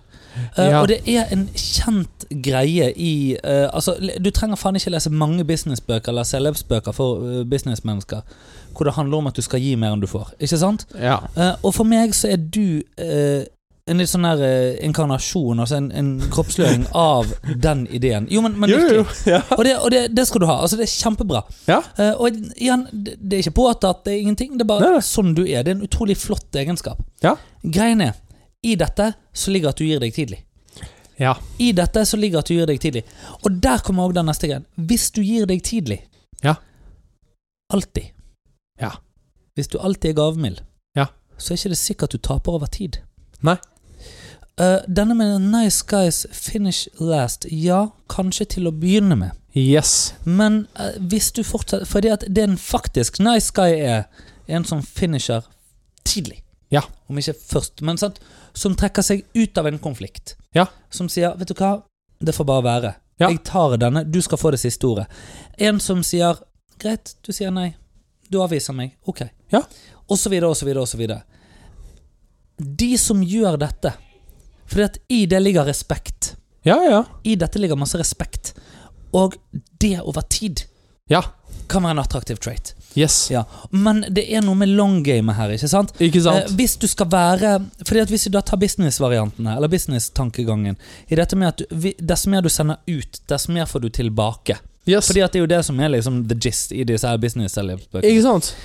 Eh, Ja. Og det er en kjent greie i eh, Altså, le- Du trenger faen ikke lese mange businessbøker eller celebsbøker for eh, businessmennesker hvor det handler om at du skal gi mer enn du får. Ikke sant? Ja. Eh, og for meg så er du eh, en litt sånn der eh, inkarnasjon, altså en, en (laughs) kroppsløring av den ideen. Jo, men, men jo, jo, virkelig. jo. Ja. (laughs) Og, det, og det, det skal du ha. Altså, det er kjempebra. Ja. Eh, og igjen, det, det er ikke påtatt, det er ingenting. Det er bare Nei, nei. sånn du er. Det er en utrolig flott egenskap. Ja. Greien er, i dette så ligger at du gir deg tidlig. Ja. I dette så ligger at du gir deg tidlig. Og der kommer også den neste greien. Hvis du gir deg tidlig Ja. Alltid. Ja. Hvis du alltid er gavmild, Ja. så er ikke det sikkert du taper over tid. Nei. Eh, denne med nice guys finish last, ja, kanskje til å begynne med. Yes. Men eh, hvis du fortsetter Fordi at det en faktisk nice guy er, er en som finisher tidlig. Ja. Om ikke først, men sant? som trekker seg ut av en konflikt. Ja. Som sier 'Vet du hva, det får bare være. Ja. Jeg tar denne, du skal få det siste ordet'. En som sier 'Greit, du sier nei. Du avviser meg. Ok.' Ja. Og så videre, og så videre, og så videre. De som gjør dette Fordi at i det ligger respekt. Ja, ja. I dette ligger masse respekt. Og det over tid Ja. kan være en attraktiv trait. Yes. Ja. Men det er noe med long game her, ikke sant? Ikke Eh, sant? hvis du skal være Fordi at Hvis du da tar business-variantene, eller business-tankegangen I dette med at du, vi- Dess mer du sender ut, dess mer får du tilbake. Yes. Fordi at det er jo det som er liksom the gist i disse her business-bøkene. Ikke sant?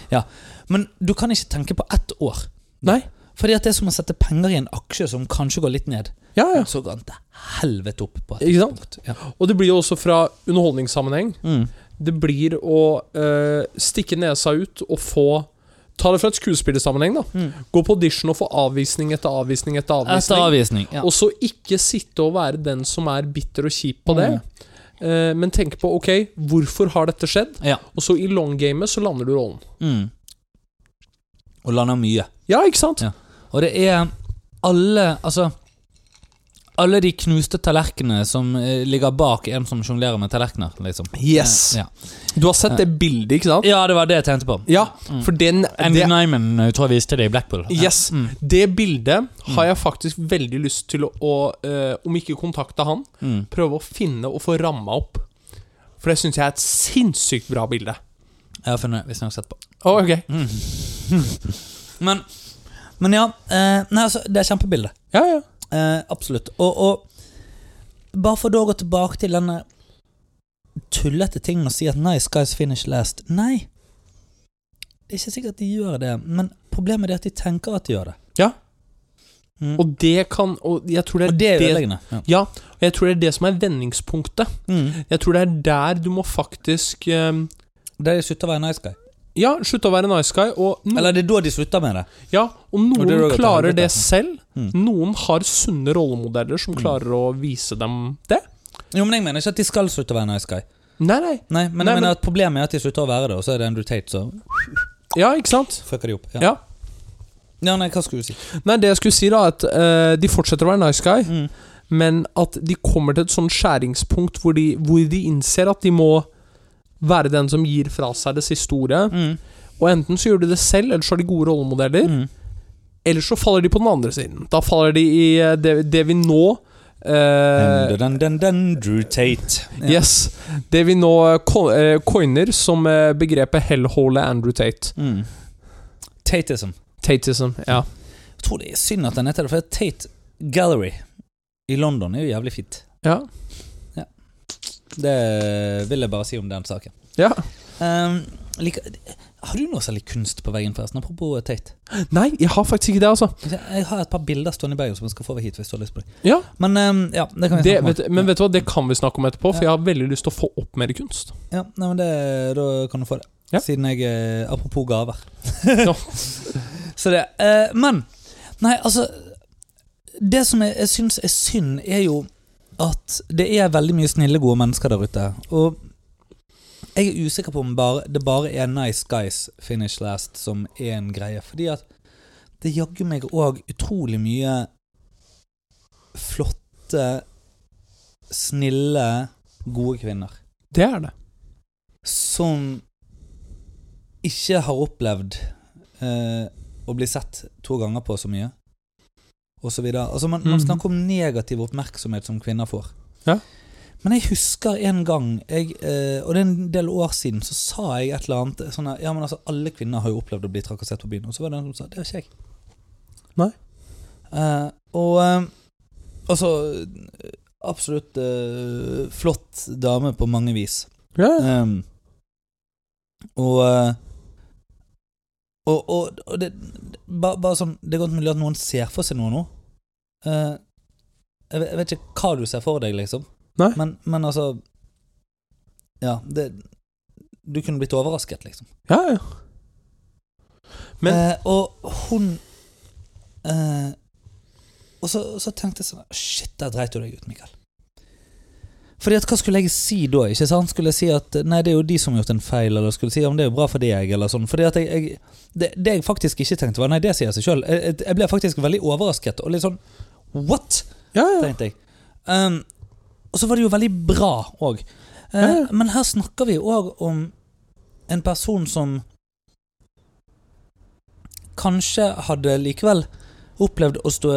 Men du kan ikke tenke på ett år. Nei. Fordi at det er som å sette penger i en aksje som kanskje går litt ned. Ja, ja. Så går den til helvete opp på et Ikke sant? punkt. Ja. Og det blir jo også fra underholdningssammenheng. Mm. Det blir å eh, stikke nesa ut og få Ta det fra et skuespillersammenheng, da. Mm. Gå på audition og få avvisning etter avvisning etter Etter avvisning. avvisning. Ja. Og så ikke sitte og være den som er bitter og kjip på det. Eh, men tenke på ok, hvorfor har dette skjedd? Ja. Og så i long gamet så lander du rollen. Mm. Og lander mye. Ja, ikke sant? Ja. Og det er alle Altså alle de knuste tallerkenene som eh, ligger bak en som jonglerer med tallerkener. Liksom. Yes. Ja. Du har sett det bildet, ikke sant? ja, det var det jeg tenkte på. Ja, for den Andy det, Nyman eh, tror jeg viste det i Blackpool. Ja. Mm. Yes. Det bildet har jeg faktisk veldig lyst til å, å eh, Om ikke kontakte han, Mm. prøve å finne og få ramma opp. For det syns jeg er et sinnssykt bra bilde. Jeg har funnet hvis jeg har sett på. Å, ok. Men, men ja. Eh, nei, altså, det er kjempebilde. Ja, ja. Eh, absolutt. Og, og bare for da å gå tilbake til denne tullete tingen å si at 'nice guys finish last'. Nei. Det er ikke sikkert de gjør det, men problemet er at de tenker at de gjør det. Ja. Mm. Og det kan Og jeg tror det er Og det er ødeleggende. Ja. Ja, og jeg tror det er det som er vendingspunktet. Mm. Jeg tror det er der du må faktisk eh, Det er slutt å være nice guy. Ja, slutte å være nice guy. Og, no, Eller det er da de slutter med det. ja, og Og noen det er jo et klarer helvete. det selv. Mm. Noen har sunne rollemodeller som klarer å vise dem det. Jo, men jeg mener ikke at de skal slutte å være nice guy. Nei, nei. Nei, men Nei, jeg men- mener at problemet er at de slutter å være det, og så er det Andrew Tate som Ja, ikke sant? fucker de opp. Ja. Ja. ja, nei, hva skulle du si? Nei, det jeg skulle si, da, er at eh, de fortsetter å være nice guy, Mm. men at de kommer til et sånn skjæringspunkt hvor de, hvor de innser at de må være den som gir fra seg det siste ordet. Mm. Og enten så gjør de det selv, eller så har de gode rollemodeller. Mm. Eller så faller de på den andre siden. Da faller de i eh, det, det vi nå eh, Dun, dun, dun, dun, Drew Tate. Ja. Yes. Det vi nå eh, ko- eh, coiner som eh, begrepet hellhole Andrew Tate. Mm. Tateism. Tatism. Ja. Jeg tror det er synd at den heter det, for Tate Gallery i London er jo jævlig fint. ja. Det vil jeg bare si om den saken. Ja. Ehm, like, har du noe særlig kunst på veggen, forresten? Apropos Tate. Nei, jeg har faktisk ikke det, altså. Jeg har et par bilder stående i bagen som jeg skal få over hit. hvis du har lyst på dem. Ja, Men ehm, ja, det kan vi det, snakke om. vet, men vet du hva, det kan vi snakke om etterpå, for jeg Ja. har veldig lyst til å få opp mer kunst. Ja, nei, men det, Da kan du få det. Ja. Siden jeg eh, Apropos gaver. Ja. (laughs) Så det eh, Men Nei, altså Det som jeg, jeg syns er synd, er jo at det er veldig mye snille, gode mennesker der ute. Og jeg er usikker på om bare, det bare er nice guys finish last som er en greie. Fordi at det jaggu meg òg utrolig mye flotte, snille, gode kvinner Det er det. som ikke har opplevd eh, å bli sett to ganger på så mye, og så videre. Altså, man, man Mhm. snakker om negativ oppmerksomhet som kvinner får. Ja. Men jeg husker en gang, jeg, eh, og det er en del år siden, så sa jeg et eller annet sånn her, Ja, men altså, alle kvinner har jo opplevd å bli trakassert på byen. Og så var det en som sa Det har ikke jeg. Nei. Eh, og eh, altså eh, Absolutt eh, flott dame på mange vis. Ja. Um, og eh, Og, og, og det, bare, bare sånn, det er godt mulig at noen ser for seg noe nå. Eh, jeg, vet, jeg vet ikke hva du ser for deg, liksom. Nei. Men, men altså Ja, det Du kunne blitt overrasket, liksom. ja, ja. Men- Eh, og hun eh, Og så, så tenkte jeg sånn Shit, der dreit du deg ut, Mikael. Fordi at Hva skulle jeg si da? ikke sant? Skulle jeg si at Nei, det er jo de som har gjort en feil, eller skulle jeg si om det er jo bra for deg, eller sånn. Fordi at jeg, jeg, det, det jeg faktisk ikke tenkte, var Nei, det sier seg sjøl. Jeg, jeg- jeg ble faktisk veldig overrasket, og litt sånn What? ja, ja. tenkte jeg. Um, og så var det jo veldig bra òg. Eh, Ja, ja. Men her snakker vi òg om en person som kanskje hadde likevel opplevd å stå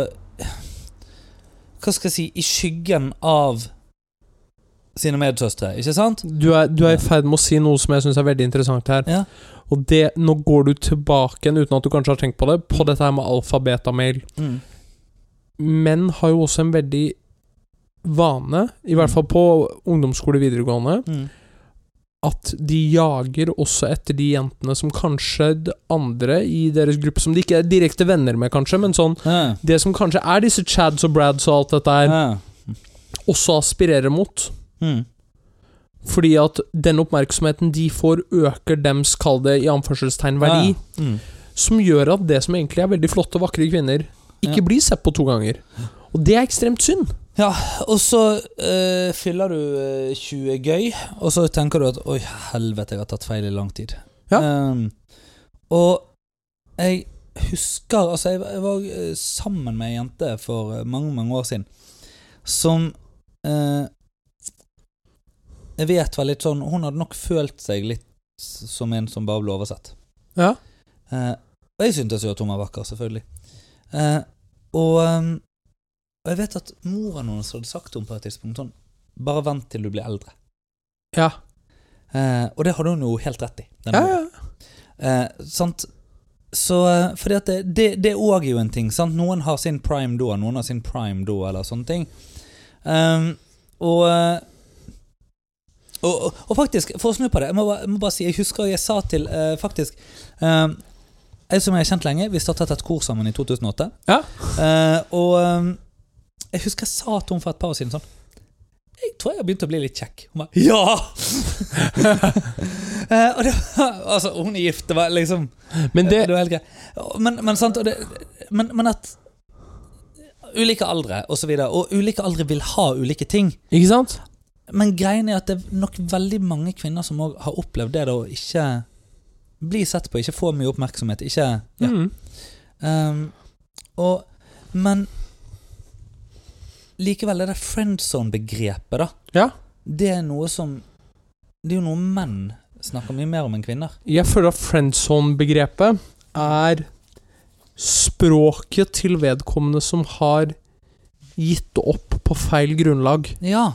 Hva skal jeg si I skyggen av sine medsøstre, ikke sant? Du er, du er i ferd med å si noe som jeg syns er veldig interessant her. Ja. Og det, nå går du tilbake igjen, uten at du kanskje har tenkt på det, på dette her med alfa-beta-mail. Menn har jo også en veldig vane, i hvert fall på ungdomsskole videregående, Mm. at de jager også etter de jentene som kanskje d- andre i deres gruppe, som de ikke er direkte venner med, kanskje, men sånn Ja. Det som kanskje er disse Chads og Brads og alt dette her, Ja. også aspirerer mot. Mm. Fordi at den oppmerksomheten de får, øker dems, kall det i anførselstegn, verdi. Ja. Mm. Som gjør at det som egentlig er veldig flotte og vakre kvinner, ikke Ja. blir sett på to ganger. Og det er ekstremt synd. Ja, og så eh, fyller du eh, 20 gøy, og så tenker du at oi, helvete, jeg har tatt feil i lang tid. Ja. Ehm, og jeg husker Altså, jeg, var- jeg var eh, sammen med ei jente for eh, mange, mange år siden som eh, Jeg vet var litt sånn Hun hadde nok følt seg litt som en som bare ble oversett. Ja. Eh, og jeg syntes jo at hun var vakker, selvfølgelig. Eh, og, ehm, og jeg vet at moren hennes hadde sagt til henne på et tidspunkt sånn Bare vent til du blir eldre. Ja. Eh, og det hadde hun jo helt rett i. denne Ja, moren. ja. Eh, sant? Så eh, fordi at det- det det òg er jo en ting. Sant? Noen har sin prime da, noen har sin prime da, eller sånne ting. Ehm, og, eh, og, og, og faktisk, for å snu på det, jeg må, bare- jeg må bare si Jeg husker jeg sa til eh, faktisk eh, Jeg som jeg har kjent lenge, vi startet et kor sammen i 2008. Ja. ehm, Eh, og eh, jeg husker jeg sa til henne for et par år siden sånn Jeg tror jeg jeg begynte å bli litt kjekk. Hun bare Ja! Eh, og det var, altså, hun er gift. Det var liksom Men det det var helt greit. Men, men, sant, og det, men, men at Ulike aldre og så videre, og ulike aldre vil ha ulike ting. Ikke sant? Men greien er at det er nok veldig mange kvinner som også har opplevd det da, å ikke bli sett på, ikke få mye oppmerksomhet, ikke ja. Mm. Ehm, og, Men likevel er det friendzone-begrepet, da. Ja. Det er noe som Det er jo noe menn snakker mye mer om enn kvinner. Jeg føler at friendzone-begrepet er språket til vedkommende som har gitt opp på feil grunnlag. Ja.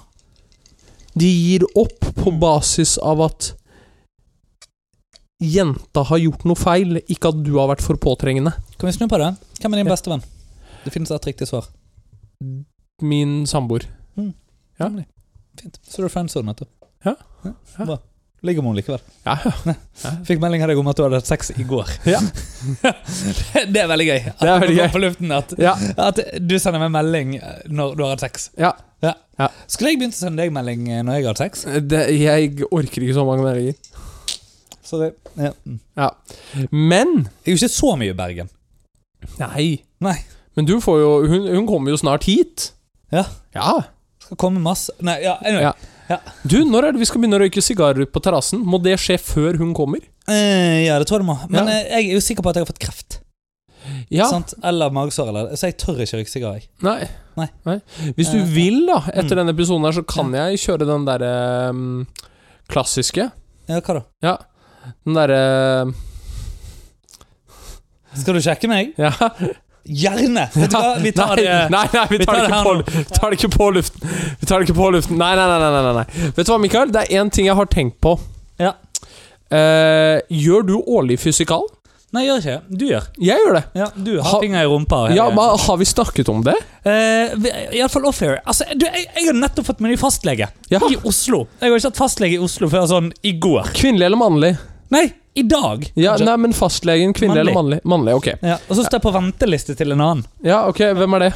De gir opp på basis av at jenta har gjort noe feil, ikke at du har vært for påtrengende. Kan vi snu på det? Hvem er din Ja. beste venn? Det finnes ett riktig svar. Min samboer. Ja. Mm. Nemlig. Fint. Så du er friendzone, vet du. Ja. Ja. Bra. Ligger med henne likevel. Ja, Fikk melding av deg om at du hadde hatt sex i går. (laughs) Ja. (laughs) det er veldig gøy. At Det er veldig går gøy. På luften at, ja, at du sender meg melding eh, når du har hatt sex. ja. Skulle jeg begynt å sende deg melding eh, når jeg har hatt sex? Det, jeg orker ikke så mange meldinger. Sorry. Ja. Mm. Men Jeg er jo ikke så mye i Bergen. Nei. Nei. Men du får jo Hun, hun kommer jo snart hit. Ja. Ja. Skal komme masse Nei, ja, anyway. Ja. Du, når er det vi skal begynne å røyke sigarer på terrassen? Må det skje før hun kommer? Eh, ja, det tror jeg du må. Men Ja. eh, jeg er jo sikker på at jeg har fått kreft. Ja. Sant? Eller magesår, eller Så jeg tør ikke røyke sigar. jeg. Nei. Nei. Hvis du Eh, vil, da, etter mm. denne episoden her, så kan jeg kjøre den derre mm, klassiske. Ja, hva da? Ja. Den derre Skal du sjekke meg? (laughs) Ja. Gjerne! Vet du hva, vi (laughs) tar nei, det Nei, nei, vi vi tar, tar det ikke det på, her lu- tar det ikke på luften. Vi tar det ikke på luften. Nei, nei, nei. nei, nei, nei. Vet du hva, Mikael? Det er én ting jeg har tenkt på. Ja. Eh, gjør du årlig fysikal? Nei, gjør ikke det. Du gjør. Jeg gjør det. Ja, du har Ha- fingeren i rumpa. og hele Ja, greia. men Har vi snakket om det? Eh, vi- i alle fall off-air. Altså, du, jeg, jeg har nettopp fått meg ny fastlege Ja. i Oslo. Jeg har ikke hatt fastlege i Oslo før sånn i går. Kvinnelig eller mannlig? Nei, i dag. Ja, kanskje. nei, men Fastlegen, kvinnelig eller mannlig? Mannlig, ok. ja, og så står jeg på venteliste til en annen. Ja, ok, Hvem (laughs) er det?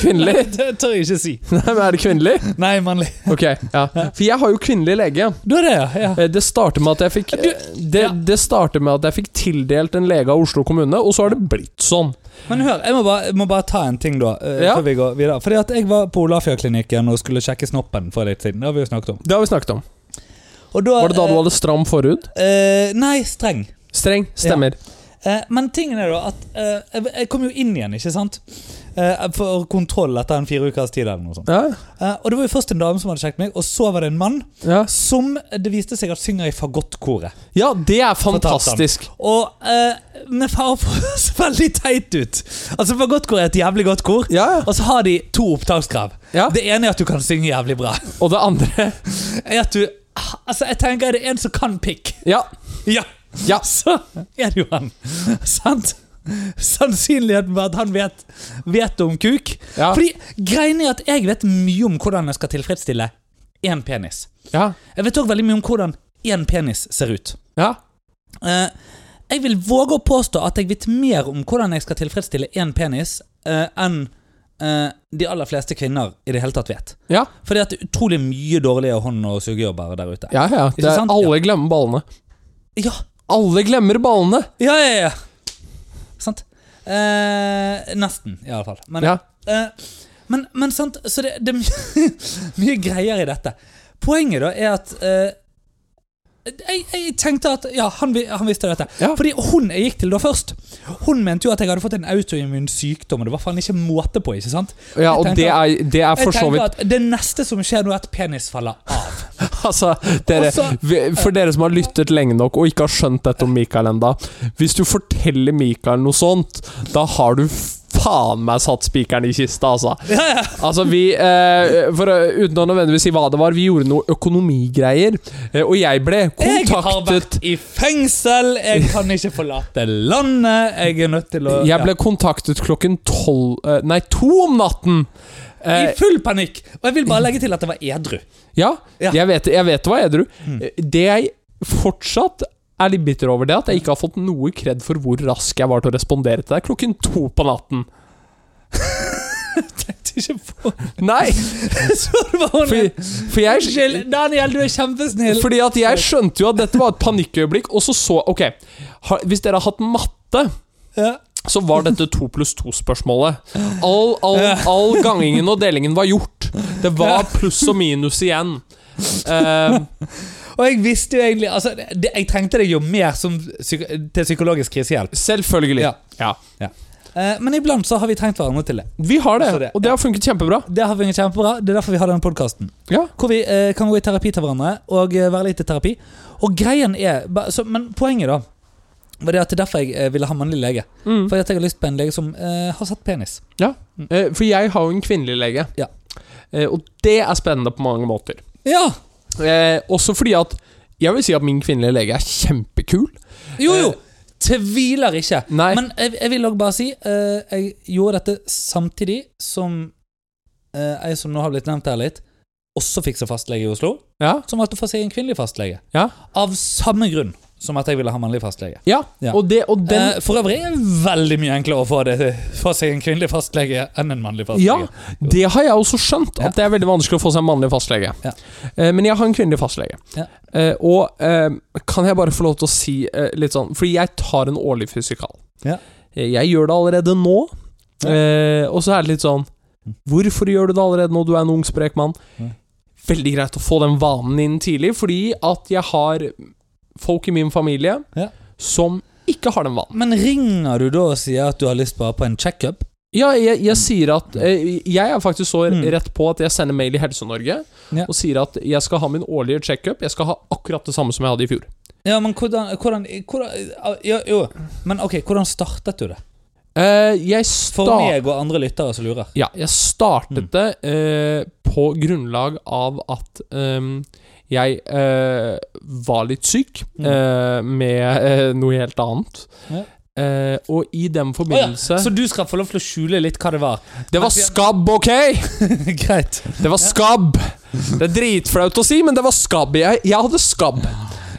Kvinnelig? (laughs) Det tør jeg ikke si. Nei, men Er det kvinnelig? Nei, mannlig. Ok, ja. For jeg har jo kvinnelig lege. Du er det, ja. Eh, Det starter med at jeg fikk eh, det, ja. det starter med at jeg fikk tildelt en lege av Oslo kommune, og så har det blitt sånn. Men hør, jeg må bare, jeg må bare ta en ting, da. eh, Ja. Før vi går videre. Fordi at jeg var på Olafjørklinikken og skulle sjekke snoppen for litt siden. Det har vi jo snakket om. Det har vi snakket om. Og da, Var det da du hadde stram forhud? eh, Nei, streng. Streng? Stemmer. Eh, men tingen er da at eh, jeg- jeg kom jo inn igjen, ikke sant? Eh, for kontroll etter en fire ukers tid eller noe sånt. Ja, Eh, og det var jo først en dame som hadde sjekket meg, og så var det en mann ja. som det viste seg at synger i fagottkoret. ja det er han. fantastisk. Og eh, med fare for å se veldig teit ut. Altså, fagottkoret er et jævlig godt kor. Ja, Og så har de to opptakskrav. ja. Det ene er at du kan synge jævlig bra. Og det andre (laughs) Er at du Altså, jeg tenker er det en som kan pikk. (laughs) Ja. Ja. Ja. Så er det jo han. (laughs) Sant? Sannsynligheten for at han vet, vet om kuk. Ja. Fordi greien er at jeg vet mye om hvordan jeg skal tilfredsstille én penis. ja. Jeg vet òg veldig mye om hvordan én penis ser ut. ja. Eh, jeg vil våge å påstå at jeg vet mer om hvordan jeg skal tilfredsstille én penis, eh, enn eh, de aller fleste kvinner i det hele tatt vet. Ja. Fordi at det er utrolig mye dårlige hånd- og sugejobber der ute. Ja, ja. Det Ikke er, sant? alle glemmer ballene. Ja, Alle glemmer ballene! ja, ja! ja. Sant? Eh, nesten, iallfall. Men, Ja. eh, men, men sant, så det, det er mye, (laughs) mye greier i dette. Poenget da er at eh, jeg, jeg tenkte at Ja, han, vi- han visste dette. Ja. Fordi hun jeg gikk til da først, hun mente jo at jeg hadde fått en autoimmun sykdom, og det var faen ikke måte på, ikke sant? ja og Jeg tenker- det er, det er for Jeg så tenker vidt at det neste som skjer nå, er at penis faller (laughs) av. Altså, dere, Og så- vi- for dere som har lyttet lenge nok og ikke har skjønt dette om Mikael enda Hvis du forteller Mikael noe sånt, da har du faen meg satt spikeren i kista, altså. Ja, ja. Altså, vi eh, for, å- Uten å nødvendigvis si hva det var, vi gjorde noe økonomigreier, eh, og jeg ble Jeg har vært kontaktet i fengsel, jeg kan ikke forlate landet, jeg er nødt til å jeg ble kontaktet klokken tolv eh, Nei, to om natten! ja, I Eh, full panikk! Og jeg vil bare legge til at det var edru. (laughs) Ja, Ja. Mm. Jeg, vet, jeg vet hva jeg edru. Eh, Det jeg fortsatt er litt bitter over, det er at jeg ikke har fått noe kred for hvor rask jeg var til å respondere til deg klokken to på natten. tenkte ikke på (laughs) Nei! Så det var hun For, for jeg Unnskyld, Daniel, du er kjempesnill! Fordi at jeg skjønte jo at dette var et panikkøyeblikk, og så så Ok, har, hvis dere har hatt matte, Ja. så var dette to pluss to-spørsmålet. All, all, Ja. all gangingen og delingen var gjort. Det var pluss og minus igjen. (laughs) Eh, Og jeg visste jo egentlig altså, det, Jeg trengte deg jo mer som, psyko- til psykologisk krisehjelp. selvfølgelig. Ja. Ja. Eh, men iblant så har vi trengt hverandre til det. Vi har Så det, det- og det har funket kjempebra. Det har funket kjempebra. Det er derfor vi har denne podkasten. Ja. Hvor vi eh, kan gå i terapi til hverandre og eh, være litt i terapi. Og greien er ba- så, Men poenget, da, var det at det er derfor jeg eh, ville ha mannlig lege. Mm. Fordi at jeg har lyst på en lege som eh, har sett penis. Eh, For jeg har jo en kvinnelig lege, Mm. Ja. Eh, og det er spennende på mange måter. Ja! Eh, også fordi at jeg vil si at min kvinnelige lege er kjempekul. Jo, jo! Tviler ikke. Nei, Men jeg, jeg vil òg bare si eh, Jeg gjorde dette samtidig som eh, jeg som nå har blitt nevnt her litt, også fikk seg fastlege i Oslo. ja, Som valgte å få seg en kvinnelig fastlege. Ja. Av samme grunn som at jeg ville ha mannlig fastlege. ja. Ja. Og, det, og den Eh, for øvrig er det veldig mye enklere å få, det, få seg en kvinnelig fastlege enn en mannlig Ja, fastlege. det har jeg også skjønt. At det er veldig vanskelig å få seg en mannlig fastlege. Ja. Eh, men jeg har en kvinnelig fastlege. Ja. Eh, og eh, kan jeg bare få lov til å si eh, litt sånn Fordi jeg tar en årlig fysikal. Ja. Eh, Jeg gjør det allerede nå. Ja. Eh, og så er det litt sånn Hvorfor gjør du det allerede nå? Du er en ung, sprek mann. Ja. Veldig greit å få den vanen inn tidlig, fordi at jeg har folk i min familie Ja. som ikke har den vanen. Men ringer du da og sier at du har lyst bare på en checkup? Ja, jeg, jeg sier at eh, Jeg er faktisk så Mm. rett på at jeg sender mail i Helse-Norge Ja. og sier at jeg skal ha min årlige checkup. Jeg skal ha akkurat det samme som jeg hadde i fjor. Ja, men hvordan, hvordan, hvordan ja, Jo, men ok, hvordan startet du det? Eh, jeg For sta meg og andre lyttere som lurer. ja, jeg startet Mm. det eh, på grunnlag av at ehm, jeg eh, var litt syk Mm. eh, med eh, noe helt annet. Ja. Eh, og i den Å ja, forbindelse så du skal få lov til å skjule litt hva det var? Det var Men- skabb, ok?! (laughs) Greit. Det var skabb. Det er dritflaut å si, men det var skabb. Jeg, jeg hadde skabb.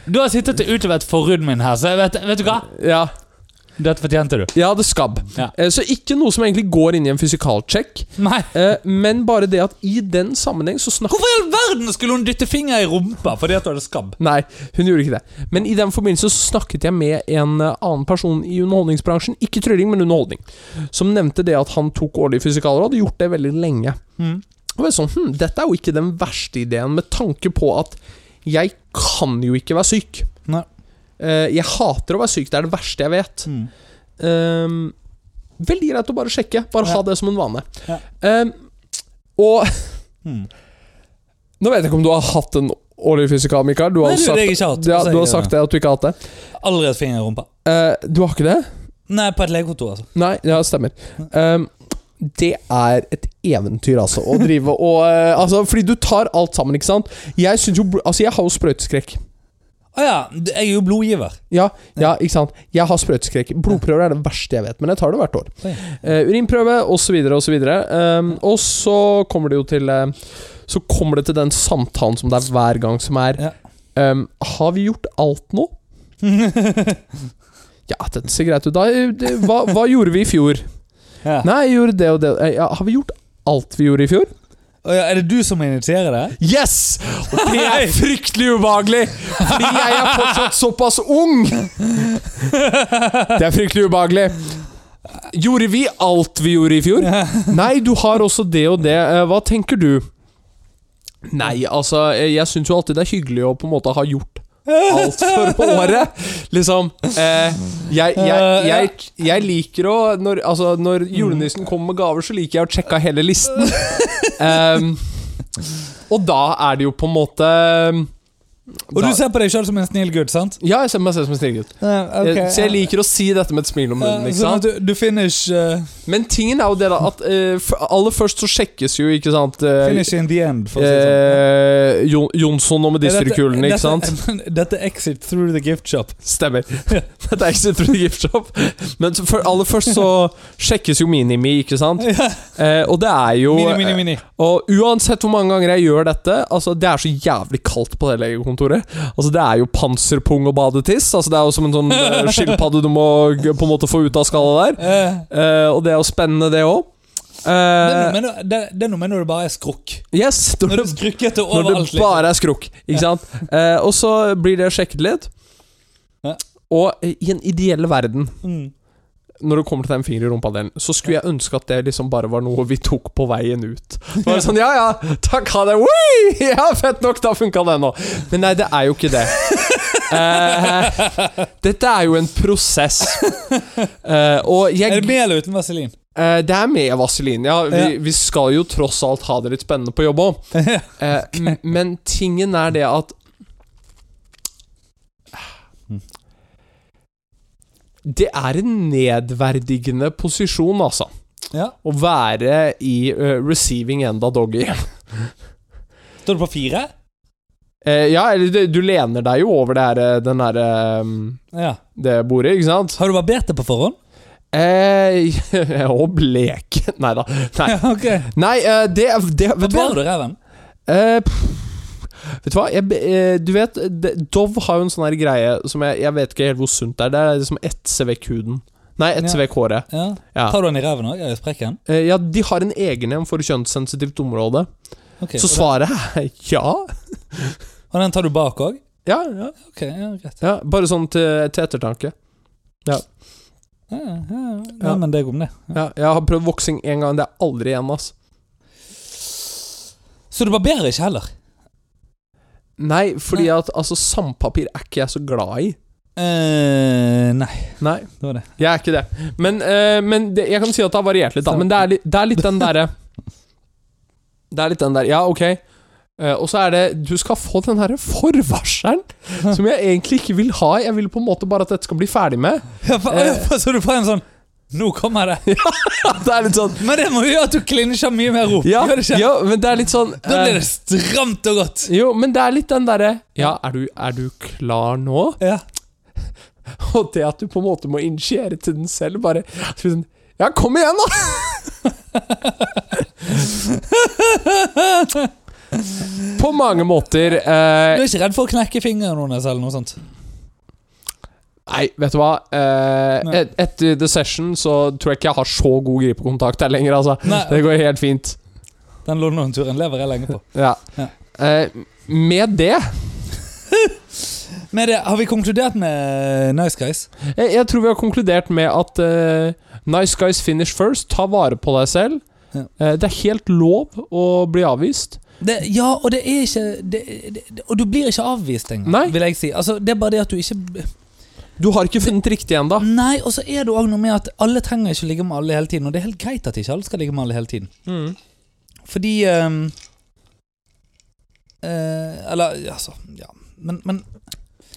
Du har sittet utover et forhud min her, så jeg vet, vet du hva? Ja Dette fortjente du. Jeg hadde skabb. Ja. Eh, Så ikke noe som egentlig går inn i en fysikalsjekk. Nei. eh, Men bare det at i den sammenheng så snakker Hvorfor i all verden skulle hun dytte fingeren i rumpa fordi at du hadde skabb? Nei, hun gjorde ikke det. Men i den forbindelse så snakket jeg med en eh, annen person i underholdningsbransjen, ikke trylling, men underholdning, som nevnte det at han tok årlige fysikaler og hadde gjort det veldig lenge. Hmm. Og jeg var sånn, hm, Dette er jo ikke den verste ideen, med tanke på at jeg kan jo ikke være syk. Nei. Eh, Jeg hater å være syk, det er det verste jeg vet. Hmm. Ehm, veldig greit å bare sjekke. Bare Ja. ha det som en vane. Ja. Ehm, og (laughs) Mm. Nå vet jeg ikke om du har hatt en årlig fysikal, Mikael. Du har, Nei, sagt, du, det har jeg ikke hatt. Ja, Så du har jeg- sagt det at du ikke har hatt det. Aldri et finger i rumpa. Eh, du har ikke det? Nei, på et legekontor, altså. Nei, ja, stemmer. Ehm, det er et eventyr, altså, å drive og eh, altså, Fordi du tar alt sammen, ikke sant? Jeg syns jo bl- Altså, jeg har jo sprøyteskrekk. Å ja, jeg er jo blodgiver. Ja, ja, ikke sant? Jeg har sprøyteskrekk. Blodprøver er det verste jeg vet, men jeg tar det hvert år. Oi. Eh, urinprøve osv. osv. Um, og så kommer det jo til eh, Så kommer det til den samtalen som det er hver gang, som er Ja. ehm, Har vi gjort alt (laughs) nå? Ja, dette ser greit ut. Da, eh, det, hva, hva gjorde vi i fjor? ja. Nei, jeg gjorde det og det. Eh, Ja, har vi gjort alt vi gjorde i fjor? Å ja, er det du som initierer det? Yes! Og det er fryktelig ubehagelig, fordi jeg er fortsatt såpass ung. Det er fryktelig ubehagelig. Gjorde vi alt vi gjorde i fjor? Nei, du har også det og det. Eh, Hva tenker du? Nei, altså, eh, jeg syns jo alltid det er hyggelig å på en måte ha gjort alt for året. Liksom. Eh, jeg, jeg, jeg, jeg liker å når, altså, når julenissen kommer med gaver, så liker jeg å sjekke av hele listen. Ehm, og da er det jo på en måte um, Og da, du ser på deg sjøl som en snill gutt, sant? Eh, Ja, jeg ser meg selv som en snill gutt. Ja, Jeg- Så jeg liker å si dette med et smil om munnen. ikke Sånn at sant? du, du finish, eh, Men tingen er jo det da at eh, f- aller først så sjekkes jo, ikke sant eh, finish in the end, for å si det sånn. eh, Jon- Jonsson og medisterkulene, ikke sant? (laughs) Dette er exit through the gift shop. (laughs) Stemmer. (laughs) Dette er ikke Trude Gift Shop. Men så for aller først så sjekkes jo Minimi, ikke sant? Eh, og eh, det er jo Mini, mini, mini. Og uansett hvor mange ganger jeg gjør dette Altså, det er så jævlig kaldt på det legekontoret. Altså, det er jo panserpung og badetiss. Altså, det er jo som en sånn eh, (laughs) skilpadde du må g- på en måte få ut av skallet der. Eh, Eh, og det er jo spennende, det òg. Det er noe Eh, med når- det- det er noe med når det bare er skrukk. yes, når Når det, det er skrukkete når det overalt. liksom. bare er skrukk. Ikke sant? Eh, og så blir det sjekket litt. Ja. Og eh, i en ideell verden, Mm. når det kommer til den finger i rumpadelen, så skulle jeg ønske at det liksom bare var noe vi tok på veien ut. Bare sånn, ja ja, takk, ha det, Oi! (laughs) ja, fett nok, da funka det nå. Men nei, det er jo ikke det. Eh, dette er jo en prosess. Eh, og jeg Er det med eller uten (laughs) vaselin? Eh, det er med vaselin. Ja, vi, Ja. vi skal jo tross alt ha det litt spennende på jobb òg. Eh, Men tingen er det at Det er en nedverdigende posisjon, altså. Ja. Å være i eh, receiving end av doggy. Står det på fire? Eh, ja, eller du, du lener deg jo over det her, eh, den her, eh, Ja. det bordet, ikke sant? Har du barbert det på forhånd? Eh, (laughs) og blek Nei da. Nei, Ja, ok. Nei eh, det, det vet du hva? Barberer du reven? Eh, pff, vet du hva? Jeg, be- eh, du vet, det- Dove har jo en sånn her greie som jeg, jeg vet ikke helt hvor sunt det er. Det er liksom etse vekk huden. Nei, etse Ja. vekk håret. Ja. Ja. Tar du den i reven òg? I sprekken? Eh, ja, de har en egen en for kjønnssensitivt område. Ok, Så og svaret er (laughs) ja. den- Og den tar du bak òg? Ja, ja, Ok, ja, greit. ja. Bare sånn til, til ettertanke. Ja, ja, ja. Nei, Ja. men det er om det. Ja, jeg har prøvd voksing én gang. Det er aldri igjen, ass. Så du barberer ikke heller? Nei, fordi at altså, sandpapir er ikke jeg så glad i. eh nei, (laughs) Nei, det var det. jeg er ikke det. Men, eh, men det, jeg kan si at det har variert litt, da. Men det er, litt- det er litt den derre Det er litt den der Ja, ok. Eh, og så er det Du skal få den herre forvarselen som jeg egentlig ikke vil ha. Jeg vil på en måte bare at dette skal bli ferdig med. Ja, for, ja, Eh. for, så du får en sånn Nå kommer (laughs) det! det er litt sånn Men det må jo gjøre at du klinsjer mye mer ro. Ja, Gjør det ikke? ja men det er litt sånn Da blir eh, det stramt og godt. Jo, men det er litt den derre Ja, er du, er du klar nå? Ja. (laughs) Og det at du på en måte må initiere til den selv, bare så sånn, Ja, kom igjen, da! (laughs) På mange måter eh, Du er ikke redd for å knekke fingeren hennes eller noe sånt? Nei, vet du hva? Eh, Nei. et, etter The Session så tror jeg ikke jeg har så god gripekontakt her lenger, altså. Nei. Det går helt fint. Den London-turen lever jeg lenge på. Ja. Ja. Eh, med det Men det, har vi konkludert med eh, Nice Guys? jeg, jeg tror vi har konkludert med at eh, nice guys finish first. Ta vare på deg selv. Ja. Eh, det er helt lov å bli avvist. Det, ja, og det er ikke det, det, det- Og du blir ikke avvist engang, Nei. vil jeg si. Altså, det er bare det at du ikke Du har ikke funnet riktig ennå. Nei, og så er det òg noe med at alle trenger ikke å ligge med alle hele tiden. Og det er helt greit at ikke alle skal ligge med alle hele tiden. Mm. Fordi ehm, eh, Eller, altså Ja. Men, men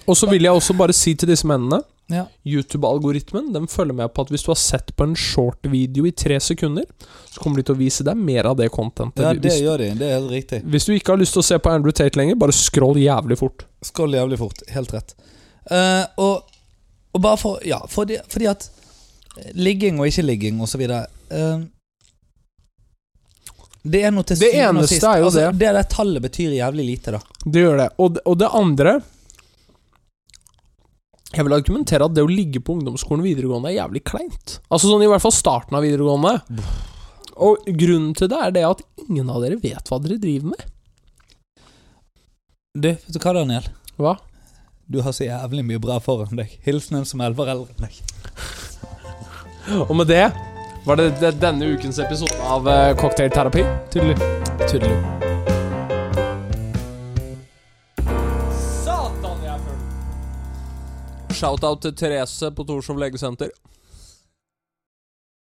Og så vil jeg også bare si til disse mennene Ja. YouTube-algoritmen den følger med på at hvis du har sett på en short video i tre sekunder, så kommer de til å vise deg mer av det contentet. ja, det hvis, gjør de. Det er helt riktig. hvis du ikke har lyst til å se på Andrew Tate lenger, bare scroll jævlig fort. Skroll jævlig fort. Helt rett. Eh, og, og bare for Ja, fordi, fordi at eh, ligging og ikke ligging og så videre eh, Det er noe til Det syvende og eneste sist. er jo altså, det. Det der tallet betyr jævlig lite, da. Det gjør det. Og, og det andre Jeg vil argumentere at det å ligge på ungdomsskolen og videregående er jævlig kleint. Altså sånn i hvert fall starten av videregående. Og grunnen til det er det at ingen av dere vet hva dere driver med. Du, vet du hva, Daniel? Hva? Du har så jævlig mye bra foran deg. Hilsen en som er elleve år eldre enn deg. Og med det var det, det denne ukens episode av eh, Cocktailterapi. Tydelig. Tudelu. Satan, jeg er full! Shoutout til Therese på Torshov legesenter.